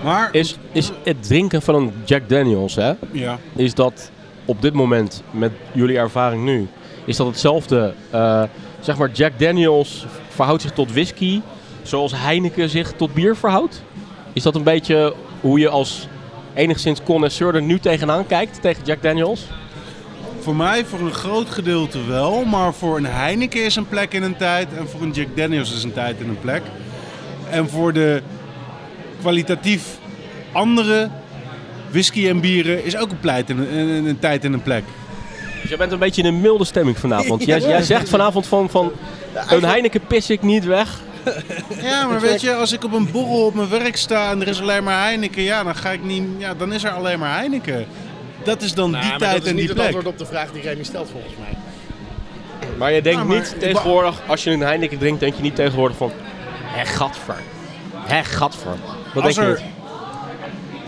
F: Maar,
A: is, is het drinken van een Jack Daniels, hè?
F: ja.
A: is dat op dit moment, met jullie ervaring nu, is dat hetzelfde. eh, zeg maar, Jack Daniels verhoudt zich tot whisky, zoals Heineken zich tot bier verhoudt? Is dat een beetje hoe je als enigszins connoisseur er nu tegenaan kijkt, tegen Jack Daniels?
F: Voor mij voor een groot gedeelte wel, maar voor een Heineken is een plek in een tijd en voor een Jack Daniels is een tijd in een plek. En voor de kwalitatief andere whisky en bieren is ook een, pleit in een, een- een tijd in een plek.
A: Dus jij bent een beetje in een milde stemming vanavond. Jij, jij zegt vanavond van, van een Heineken pis ik niet weg.
F: Ja, maar weet je, als ik op een borrel op mijn werk sta en er is alleen maar Heineken, ja, dan ga ik niet, ja, dan is er alleen maar Heineken. Dat is dan die
B: maar
F: tijd
B: dat is dus
F: en
B: niet
F: die
B: het
F: plek.
B: antwoord op de vraag die Remy stelt volgens mij.
A: Maar je denkt
F: Ja, maar-
A: niet tegenwoordig, als je een Heineken drinkt, denk je niet tegenwoordig van... Hé, gadver. Hé, gadver. Dat denk
F: Als,
A: je niet.
F: er,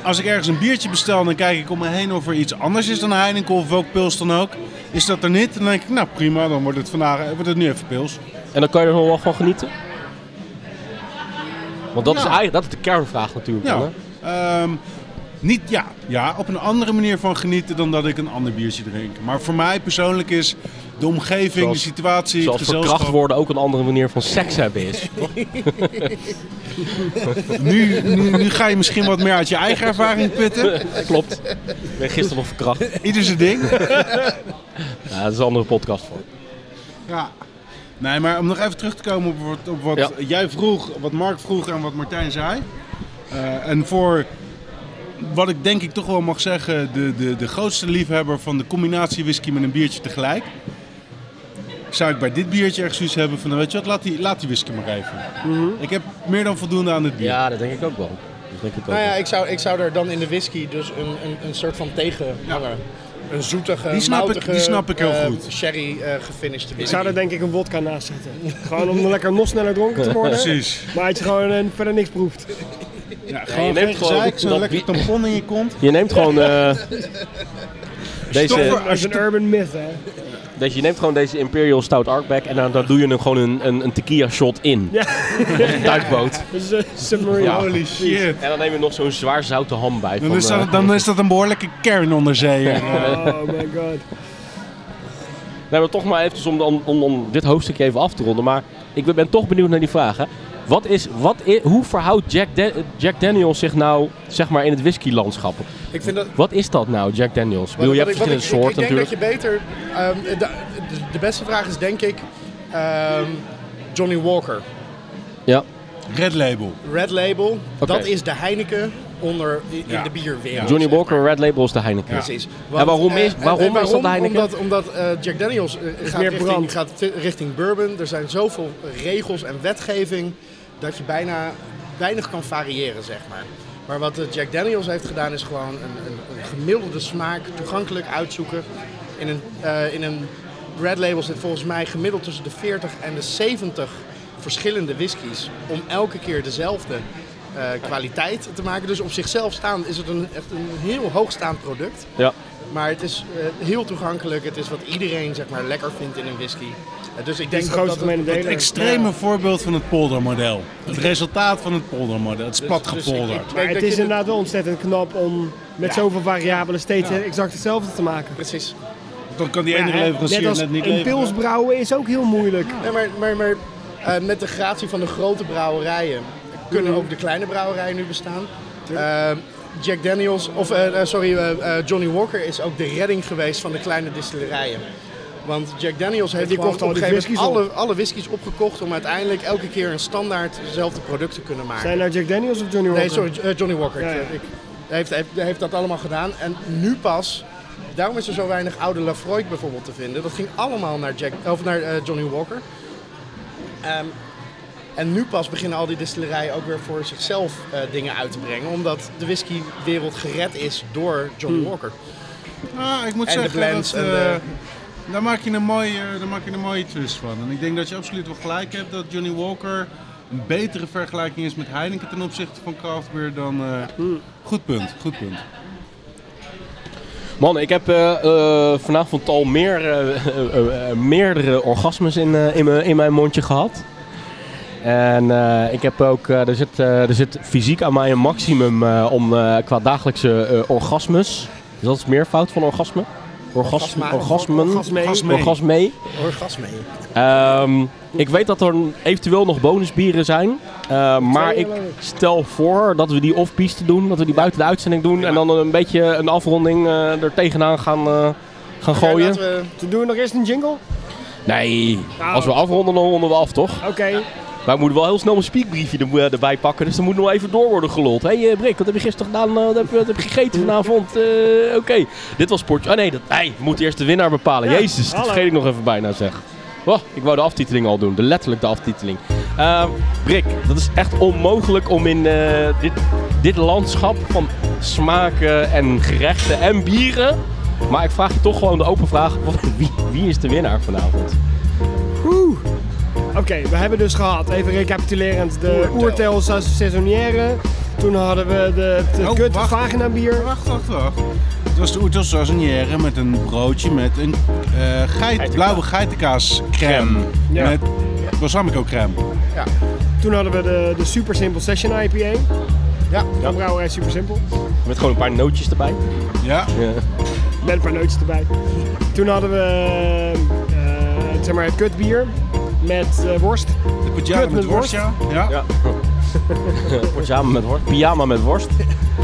F: als ik ergens een biertje bestel, dan kijk ik om me heen of er iets anders is dan Heineken of welk pils dan ook. Is dat er niet, dan denk ik, nou prima, dan wordt het, vandaag, eh, wordt het nu even pils.
A: En dan kan je er nog wel van genieten? Want dat is eigenlijk dat is de kernvraag natuurlijk.
F: Ja,
A: dan, hè?
F: ehm, niet, ja, ja, op een andere manier van genieten dan dat ik een ander biertje drink. Maar voor mij persoonlijk is de omgeving,
A: Zoals-
F: de situatie,
A: Zoals
F: het gezelschap...
A: verkracht worden ook een andere manier van seks hebben is.
F: Nu, nu, nu ga je misschien wat meer uit je eigen ervaring putten.
A: Klopt. Ik ben gisteren nog verkracht.
F: Ieder zijn ding.
A: Ja, dat is een andere podcast voor.
F: Ja. Nee, maar om nog even terug te komen op wat, op wat
A: Ja.
F: jij vroeg, wat Mark vroeg en wat Martijn zei. Eh, en voor wat ik denk ik toch wel mag zeggen, de, de, de grootste liefhebber van de combinatie whisky met een biertje tegelijk. Zou ik bij dit biertje echt zoiets hebben van, nou, weet je wat, laat die, laat die whisky maar even. Ik heb meer dan voldoende aan dit bier.
A: Mhm. Ja, dat denk ik ook wel. Dat denk ik ook
B: Nou ja,
A: wel.
B: ik zou, ik zou er dan in de whisky dus een, een, een soort van tegenhanger. Een zoetige,
F: Die snap ik-
B: moutige,
F: die snap ik heel
B: eh,
F: goed.
B: sherry eh, gefinished
C: Ik
B: whisky.
C: zou er denk ik een wodka naast zetten. Gewoon om lekker nog sneller dronken te worden.
F: Precies.
C: Maar dat je gewoon eh, verder niks proeft.
F: Ja, gewoon
A: neemt
F: geen
A: gewoon
F: gezeik, zo'n
A: dat
F: lekker
A: bier-
F: tampon in je kont.
A: Je neemt gewoon, eh, deze,
F: Stoffer-
C: Dat is een urban myth, hè.
A: deze, je neemt gewoon deze Imperial Stout Arkback en dan, dan doe je hem gewoon een, een, een tequila shot in.
C: Ja.
A: Een duikboot.
C: Dat is een submarine.
A: Ja.
F: Holy shit.
A: En dan neem je nog zo'n zwaar zoute ham bij.
F: Dan
A: van,
F: is, dat,
A: eh,
F: dan is dat een behoorlijke kernonderzeeër.
C: Oh my god.
A: Nee, maar toch maar even om, om, om, om dit hoofdstukje even af te ronden. Maar ik ben toch benieuwd naar die vraag. Hè. Wat is, wat i- hoe verhoudt Jack, Da- Jack Daniels zich nou zeg maar, in het whiskylandschap?
B: Ik vind dat,
A: Wat is dat nou, Jack Daniels? Ik bedoel,
B: Wat-
A: je
B: wat
A: hebt
B: ik- wat
A: verschillende
B: ik-
A: soorten
B: ik,
A: natuurlijk.
B: Ik denk dat je beter... ehm, de, de- de beste vraag is denk ik ehm, Johnny Walker.
A: Ja.
F: Red label.
B: Red Label,
A: Oké.
B: dat is de Heineken onder, in
F: Ja.
B: de bierwereld.
A: Johnny
B: zeg maar.
A: Walker, Red Label is de Heineken.
B: Precies.
A: En waarom is-
B: eh, en-
A: waarom
B: en
A: is dat de Heineken?
B: Omdat, omdat eh, Jack Daniels eh, gaat,
C: meer
B: richting,
C: brand.
B: gaat t- richting bourbon. Er zijn zoveel regels en wetgeving dat je bijna weinig kan variëren, zeg maar. Maar wat eh, Jack Daniels heeft gedaan is gewoon een, een, een gemiddelde smaak toegankelijk uitzoeken. In een, eh, in een red label zit volgens mij gemiddeld tussen de 40 en de 70 verschillende whiskies. Om elke keer dezelfde eh, kwaliteit te maken. Dus op zichzelf staan is het een, echt een heel hoogstaand product.
A: Ja.
B: Maar het is eh, heel toegankelijk. Het is wat iedereen zeg maar, lekker vindt in een whisky. Eh, dus ik
C: Dat
B: denk
C: is de
B: dat
C: grootste
B: dat het-
C: gemene deler.
F: Het extreme voorbeeld van het poldermodel. Het resultaat van het poldermodel. Het is
B: dus
F: platgepolderd.
B: ik- ik-
C: Maar
B: denk
C: het
B: dat
C: is
B: je-
C: inderdaad wel ontzettend knap om met zoveel variabelen steeds exact hetzelfde te maken.
B: Precies.
F: dan kan die ene leverancier net,
C: als
F: niet
C: een
F: leveren.
C: pils brouwen is ook heel moeilijk.
B: Nee, maar, maar, maar eh, met de gratie van de grote brouwerijen kunnen
C: Mm-hmm.
B: ook de kleine brouwerijen nu bestaan. Eh, Jack Daniels, of eh, eh, sorry, eh, eh, Johnny Walker is ook de redding geweest van de kleine distillerijen. Want Jack Daniels heeft
C: die
B: gewoon
C: kocht
B: op
C: al
B: een
C: die
B: gegeven moment
C: whiskies
B: alle, alle whiskies opgekocht om uiteindelijk elke keer een standaard dezelfde product te kunnen maken.
C: Zijn nou Jack Daniels of Johnny Walker?
B: Nee, sorry, eh, Johnny Walker.
C: Ja, ja.
B: Ik, hij heeft, hij heeft, hij heeft dat allemaal gedaan. En nu pas, daarom is er zo weinig oude Lafroy bijvoorbeeld te vinden. Dat ging allemaal naar, Jack, of naar eh, Johnny Walker. Ehm, en nu pas beginnen al die distillerijen ook weer voor zichzelf eh, dingen uit te brengen. Omdat de whiskywereld gered is door Johnny Walker.
F: Ah, ik moet
B: En de
F: zeggen,
B: blends
F: dat,
B: en
F: eh,
B: de-
F: daar, maak je een mooie, daar maak je een mooie twist van. En ik denk dat je absoluut wel gelijk hebt dat Johnny Walker een betere vergelijking is met Heineken ten opzichte van craft beer dan... eh, Goed punt, goed punt.
A: Man, ik heb eh, eh, vanavond al meer, eh, eh, eh, meerdere orgasmes in, eh, in, mijn- in mijn mondje gehad. En eh, ik heb ook, eh, er, zit, eh, er zit fysiek aan mij een maximum eh, om, eh, qua dagelijkse eh, orgasmes. Is dat het meervoud van orgasme? Orgasme,
B: Orgasma.
A: orgasmen.
B: Orgasme.
A: Orgasme. Orgasme.
B: Orgasme.
A: Ehm, ik weet dat er eventueel nog bonusbieren zijn. eh, maar ik stel voor dat we die off-piste doen. Dat we die buiten de uitzending doen. En dan een beetje een afronding eh, er tegenaan gaan, eh, gaan gooien.
B: Laten we- Nou.
C: Toen doen we nog eerst een jingle?
A: Nee, als we afronden dan ronden we af, toch?
C: Oké.
A: Maar ik moet wel heel snel mijn speakbriefje er, eh, erbij pakken. Dus dan moet nog even door worden gelold. Hé hey, Brik, wat heb je gisteren gedaan? Eh, wat, heb, je- wat heb je gegeten vanavond? Eh, Oké, dit was Sportje. Ah nee, dat, hey, we moeten eerst de winnaar bepalen. Jezus, dat
C: hallo.
A: vergeet ik nog even bijna zeg. Oh, ik wou de aftiteling al doen. De, letterlijk de aftiteling. Eh, Brik, dat is echt onmogelijk om in eh, dit, dit landschap van smaken en gerechten en bieren... Maar ik vraag je toch gewoon de open vraag. wat- Wie, wie is de winnaar vanavond?
C: Oké, we hebben dus gehad, even recapitulerend, de Oertel sa- Saisonnière. Toen hadden we de, de
F: Oh,
C: kut
F: wacht.
C: vagina bier.
F: Wacht, wacht, wacht. Het was de Oetel Saisonnière met een broodje met een eh, geit, blauwe geitenkaascrème.
C: Ja.
F: Met balsamico crème.
C: Toen hadden we de, de Super Simple Session IPA.
B: Ja.
C: Van brouwerij Super Simple.
A: Met gewoon een paar nootjes erbij.
F: Ja,
A: Ja.
C: Met een paar nootjes erbij. Toen hadden we eh, zeg maar het kutbier met eh, worst.
F: de patjana
C: Kut
F: met
C: met
F: worst,
C: worst.
F: ja. Ja.
A: Ja. Pyjama met worst. Pyjama met worst.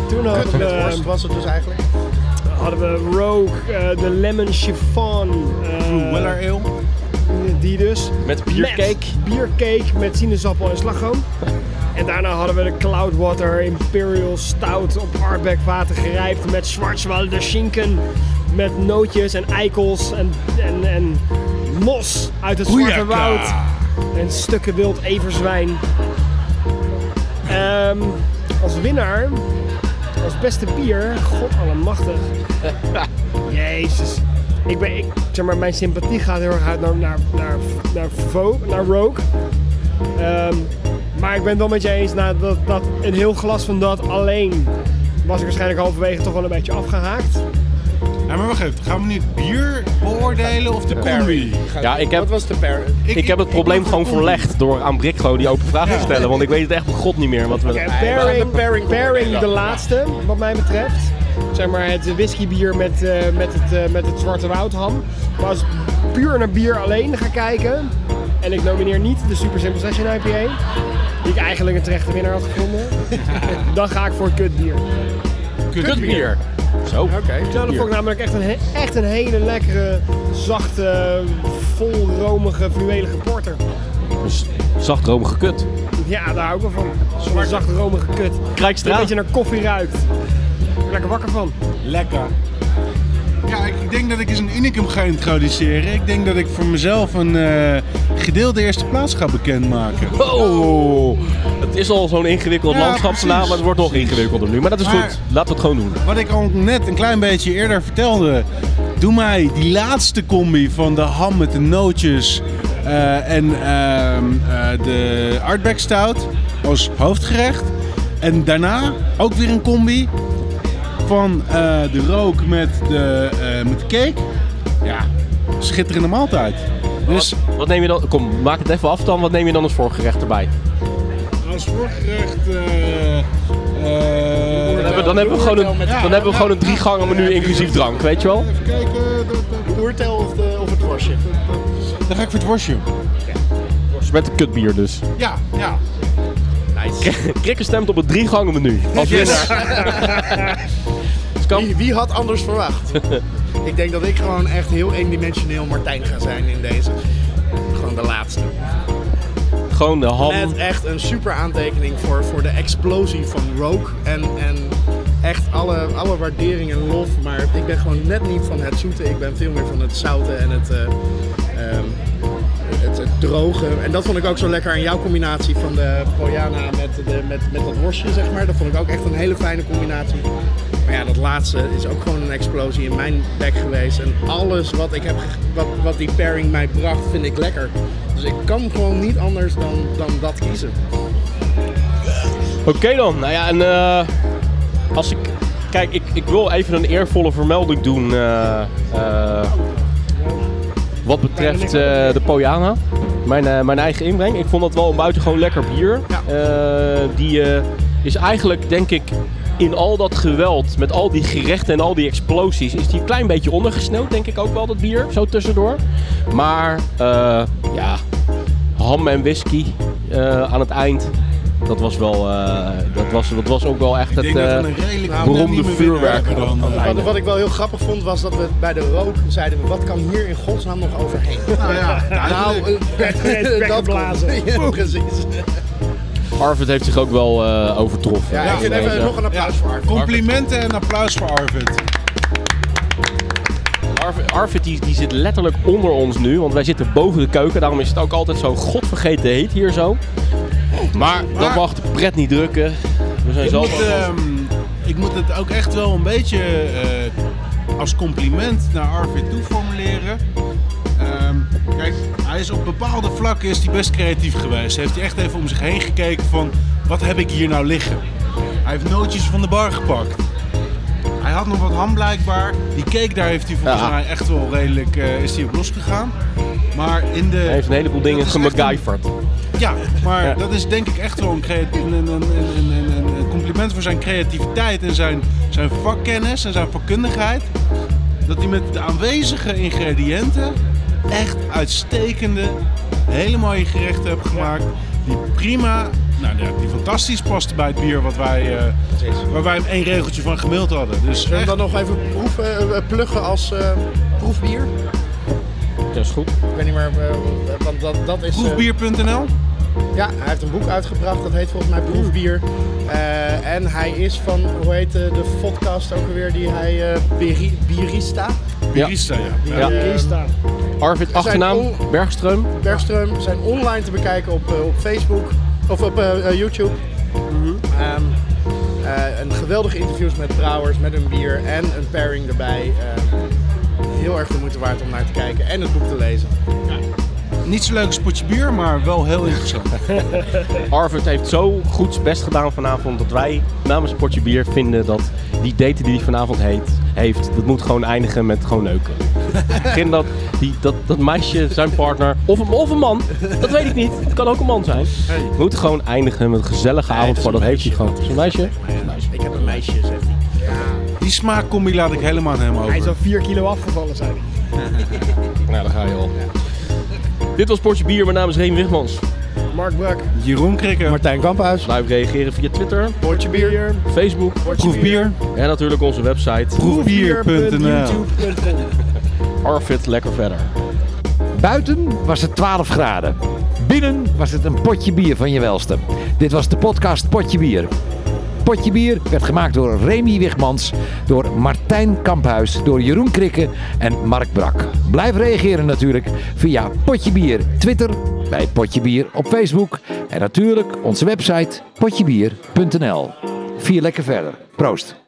C: Toen hadden
B: Met worst
C: we,
B: was het dus eigenlijk.
C: hadden we Rogue, eh, de Lemon Chiffon. eh,
F: Blue Weller Ale.
C: Die dus.
A: Met biercake.
C: Met biercake met sinaasappel en slagroom. en daarna hadden we de Cloudwater Imperial Stout op Arbeck water gerijpt met Schwarzwalder Schinken. Met nootjes en eikels en, en, en mos uit het Zwarte
F: Hoejaka.
C: Woud. En stukken wild everzwijn. Ehm, als winnaar, als beste bier, godallemachtig. Jezus. Ik ben, ik, zeg maar, mijn sympathie gaat heel erg uit naar, naar, naar, naar, Vo, naar Rogue. Ehm, maar ik ben het wel met je eens nou, dat, dat een heel glas van dat alleen was ik waarschijnlijk halverwege toch wel een beetje afgehaakt.
F: Ja, maar wacht even. Gaan we nu het bier beoordelen of de combi?
A: Ja, ik heb,
B: Wat was de per?
A: ik heb het probleem
F: ik-
A: gewoon verlegd door aan Brik gewoon die open vraag te stellen. Want ik weet het echt bij god niet meer. Wat
C: Oké,
A: we...
C: pairing,
B: de pairing-
C: pairing, de laatste, wat mij betreft. Zeg maar het whiskybier met, eh, met, het, eh, met het zwarte woudham. Maar als ik puur naar bier alleen ga kijken, en ik nomineer niet de Super Simple Session IPA, die ik eigenlijk een terechte winnaar had gevonden, dan ga ik voor het kutbier.
A: Kutbier. Zo.
C: Nou, dat vond ik namelijk echt een, he- echt een hele lekkere, zachte, vol romige, fluwelige porter.
A: Dus Zachtromige kut.
C: Ja, daar hou ik wel van. Zo'n zacht romige kut. Die een
A: Krijkstraat.
C: beetje naar koffie ruikt. Ik word lekker wakker van.
F: Lekker. Ja, ik, ik denk dat ik eens een unicum ga introduceren. Ik denk dat ik voor mezelf een eh, gedeelde eerste plaats ga bekendmaken.
A: Oh. Het is al zo'n ingewikkeld
F: Ja,
A: landschap vandaag, maar het wordt nog
F: precies.
A: ingewikkelder nu. Maar dat is
F: Maar-
A: goed. Laten we het gewoon doen.
F: Wat ik al net een klein beetje eerder vertelde. Doe mij die laatste combi van de ham met de nootjes eh, en ehm, eh, de Artback Stout als hoofdgerecht. En daarna ook weer een combi van eh, de rook met de, eh, met de cake. Ja, schitterende maaltijd. Dus
A: Wat neem je dan? Kom, maak het even af dan. Wat neem je dan als voorgerecht erbij?
F: als voorgerecht... eh, eh,
A: Dan hebben we, dan hebben we gewoon, een,
F: Ja,
A: dan hebben we
F: ja.
A: gewoon een drie gangen menu inclusief drank, weet je wel?
F: Even kijken. dat- dat-
B: de oertel of, de, of het worstje?
F: Dan ga ik voor het worstje.
A: Met een kutbier dus.
F: Ja, ja.
A: Krikke stemt op het drie gangen menu. Als winnaar. Dus
B: Wie, wie had anders verwacht? ik denk dat ik gewoon echt heel eendimensioneel Martijn ga zijn in deze. Gewoon de laatste.
A: Gewoon de ham.
B: Met echt een super aantekening voor, voor de explosie van Rogue. En, en echt alle, alle waardering en lof. Maar ik ben gewoon net niet van het zoete. Ik ben veel meer van het zoute en het, eh, ehm, het, het droge. En dat vond ik ook zo lekker aan jouw combinatie van de Poyana met, de, met, met dat worstje, zeg maar. Dat vond ik ook echt een hele fijne combinatie. Maar ja, dat laatste is ook gewoon een explosie in mijn bek geweest. En alles wat, ik heb, ge- wat, wat die pairing mij bracht, vind ik lekker. Dus ik kan gewoon niet anders dan, dan dat kiezen.
A: Oké dan, nou ja, en eh, als ik. Kijk, ik, ik wil even een eervolle vermelding doen. eh, eh, wat betreft eh, de Pojana. Mijn, eh, mijn eigen inbreng. Ik vond dat wel een buitengewoon lekker bier. Eh, die eh, is eigenlijk, denk ik, in al dat geweld, met al die gerechten en al die explosies, is die een klein beetje ondergesneeuwd, denk ik ook wel, dat bier. Zo tussendoor. Maar, eh, ja, ham en whisky eh, aan het eind. Dat was wel, eh, dat was, dat was ook wel echt
F: Ik
A: het
F: denk dat we een
A: eh,
F: redelijk
A: beroemde
F: unanieme
A: vuurwerk.
F: winnaar hebben dan.
B: Wat, wat ik wel heel grappig vond, was dat we bij de rook zeiden... we, wat kan hier in godsnaam nog overheen?
F: Nou ja, duidelijk.
B: Nou, eh, dat blazen. Ja, precies.
A: Arvid heeft zich ook wel eh, overtroffen.
B: Ja, ik vind
A: Deze.
B: even nog een applaus voor Arthur.
F: Complimenten en applaus voor Arvid.
A: Arvid, Arvid die, die zit letterlijk onder ons nu, want wij zitten boven de keuken. Daarom is het ook altijd zo godvergeten heet hier zo. Maar dat
F: Maar-
A: mag de pret niet drukken. We zijn
F: Ik
A: zo...
F: moet,
B: eh,
F: ehm, ik moet het ook echt wel een beetje eh, als compliment naar Arvid toe formuleren. Ehm, kijk, hij is op bepaalde vlakken is hij best creatief geweest. Heeft hij echt even om zich heen gekeken van wat heb ik hier nou liggen? Hij heeft nootjes van de bar gepakt. Hij had nog wat ham blijkbaar. Die cake daar heeft hij volgens
A: Ja.
F: mij echt wel redelijk eh, is hij op losgegaan. Maar in de
A: Hij heeft een heleboel dingen
F: Dat is echt
A: gemaguiverd.
F: ja, maar
A: Ja.
F: dat is denk ik echt wel een, crea- een, een, een, een, een- een compliment voor zijn creativiteit en zijn, zijn vakkennis en zijn vakkundigheid. Dat hij met de aanwezige ingrediënten echt uitstekende, hele mooie gerechten heeft gemaakt. Die prima, nou ja, die fantastisch past bij het bier wat wij, eh, waar wij hem één regeltje van gemaild hadden. Dus
B: En
F: echt,
B: dan nog even proeven, eh, pluggen als eh, proefbier.
A: Dat is goed.
B: Ik weet niet meer, eh, want dat, dat is... eh,
F: proefbier.nl.
B: Ja, hij heeft een boek uitgebracht, dat heet volgens mij Proefbier. Eh, en hij is van, hoe heet de, de podcast ook alweer, die hij, eh Biri- Birista.
A: Ja.
F: Barista, ja.
B: Die,
A: Ja.
B: eh,
A: Arvid,
B: zijn
A: achternaam,
B: on-
A: Bergström.
B: Bergström zijn online te bekijken op, eh, op Facebook of op eh, eh, YouTube. Ehm, eh, en geweldige interviews met brouwers, met een bier en een pairing erbij. Ehm, heel erg de moeite waard om naar te kijken en het boek te lezen.
F: Niet zo'n leuk spotje bier, maar wel heel interessant.
A: Arvid heeft zo goed zijn best gedaan vanavond dat wij namens Potje Bier vinden dat die date die hij vanavond heet, heeft, dat moet gewoon eindigen met gewoon neuken. Ik vind dat, die, dat, dat meisje, zijn partner, of een, of een man, dat weet ik niet. Het kan ook een man zijn. Moet gewoon eindigen met een gezellige avond voor, dat heeft hij gewoon. Zo'n meisje?
B: Ik heb een meisje, zegt hij.
F: Die smaakcombi laat ik helemaal aan hem over.
C: Hij zou 4 kilo afgevallen zijn.
A: Nou, daar ga je al. Dit was Potje Bier, mijn naam is Reen Wigmans.
C: Mark Brak.
F: Jeroen Krikker,
B: Martijn Kamphuis.
A: Blijf reageren via Twitter,
B: Potje bier.
A: Facebook
F: proefbier.
A: en natuurlijk onze website.
F: proefbier.nl.
A: Arvid, lekker verder.
G: Buiten was het 12 graden. Binnen was het een potje bier van je welste. Dit was de podcast Potje Bier. Potje Bier werd gemaakt door Remy Wigmans, door Martijn Kamphuis, door Jeroen Krikke en Mark Brak. Blijf reageren natuurlijk via Potje Bier Twitter, bij Potje Bier op Facebook en natuurlijk onze website potjebier.nl. Vier lekker verder. Proost.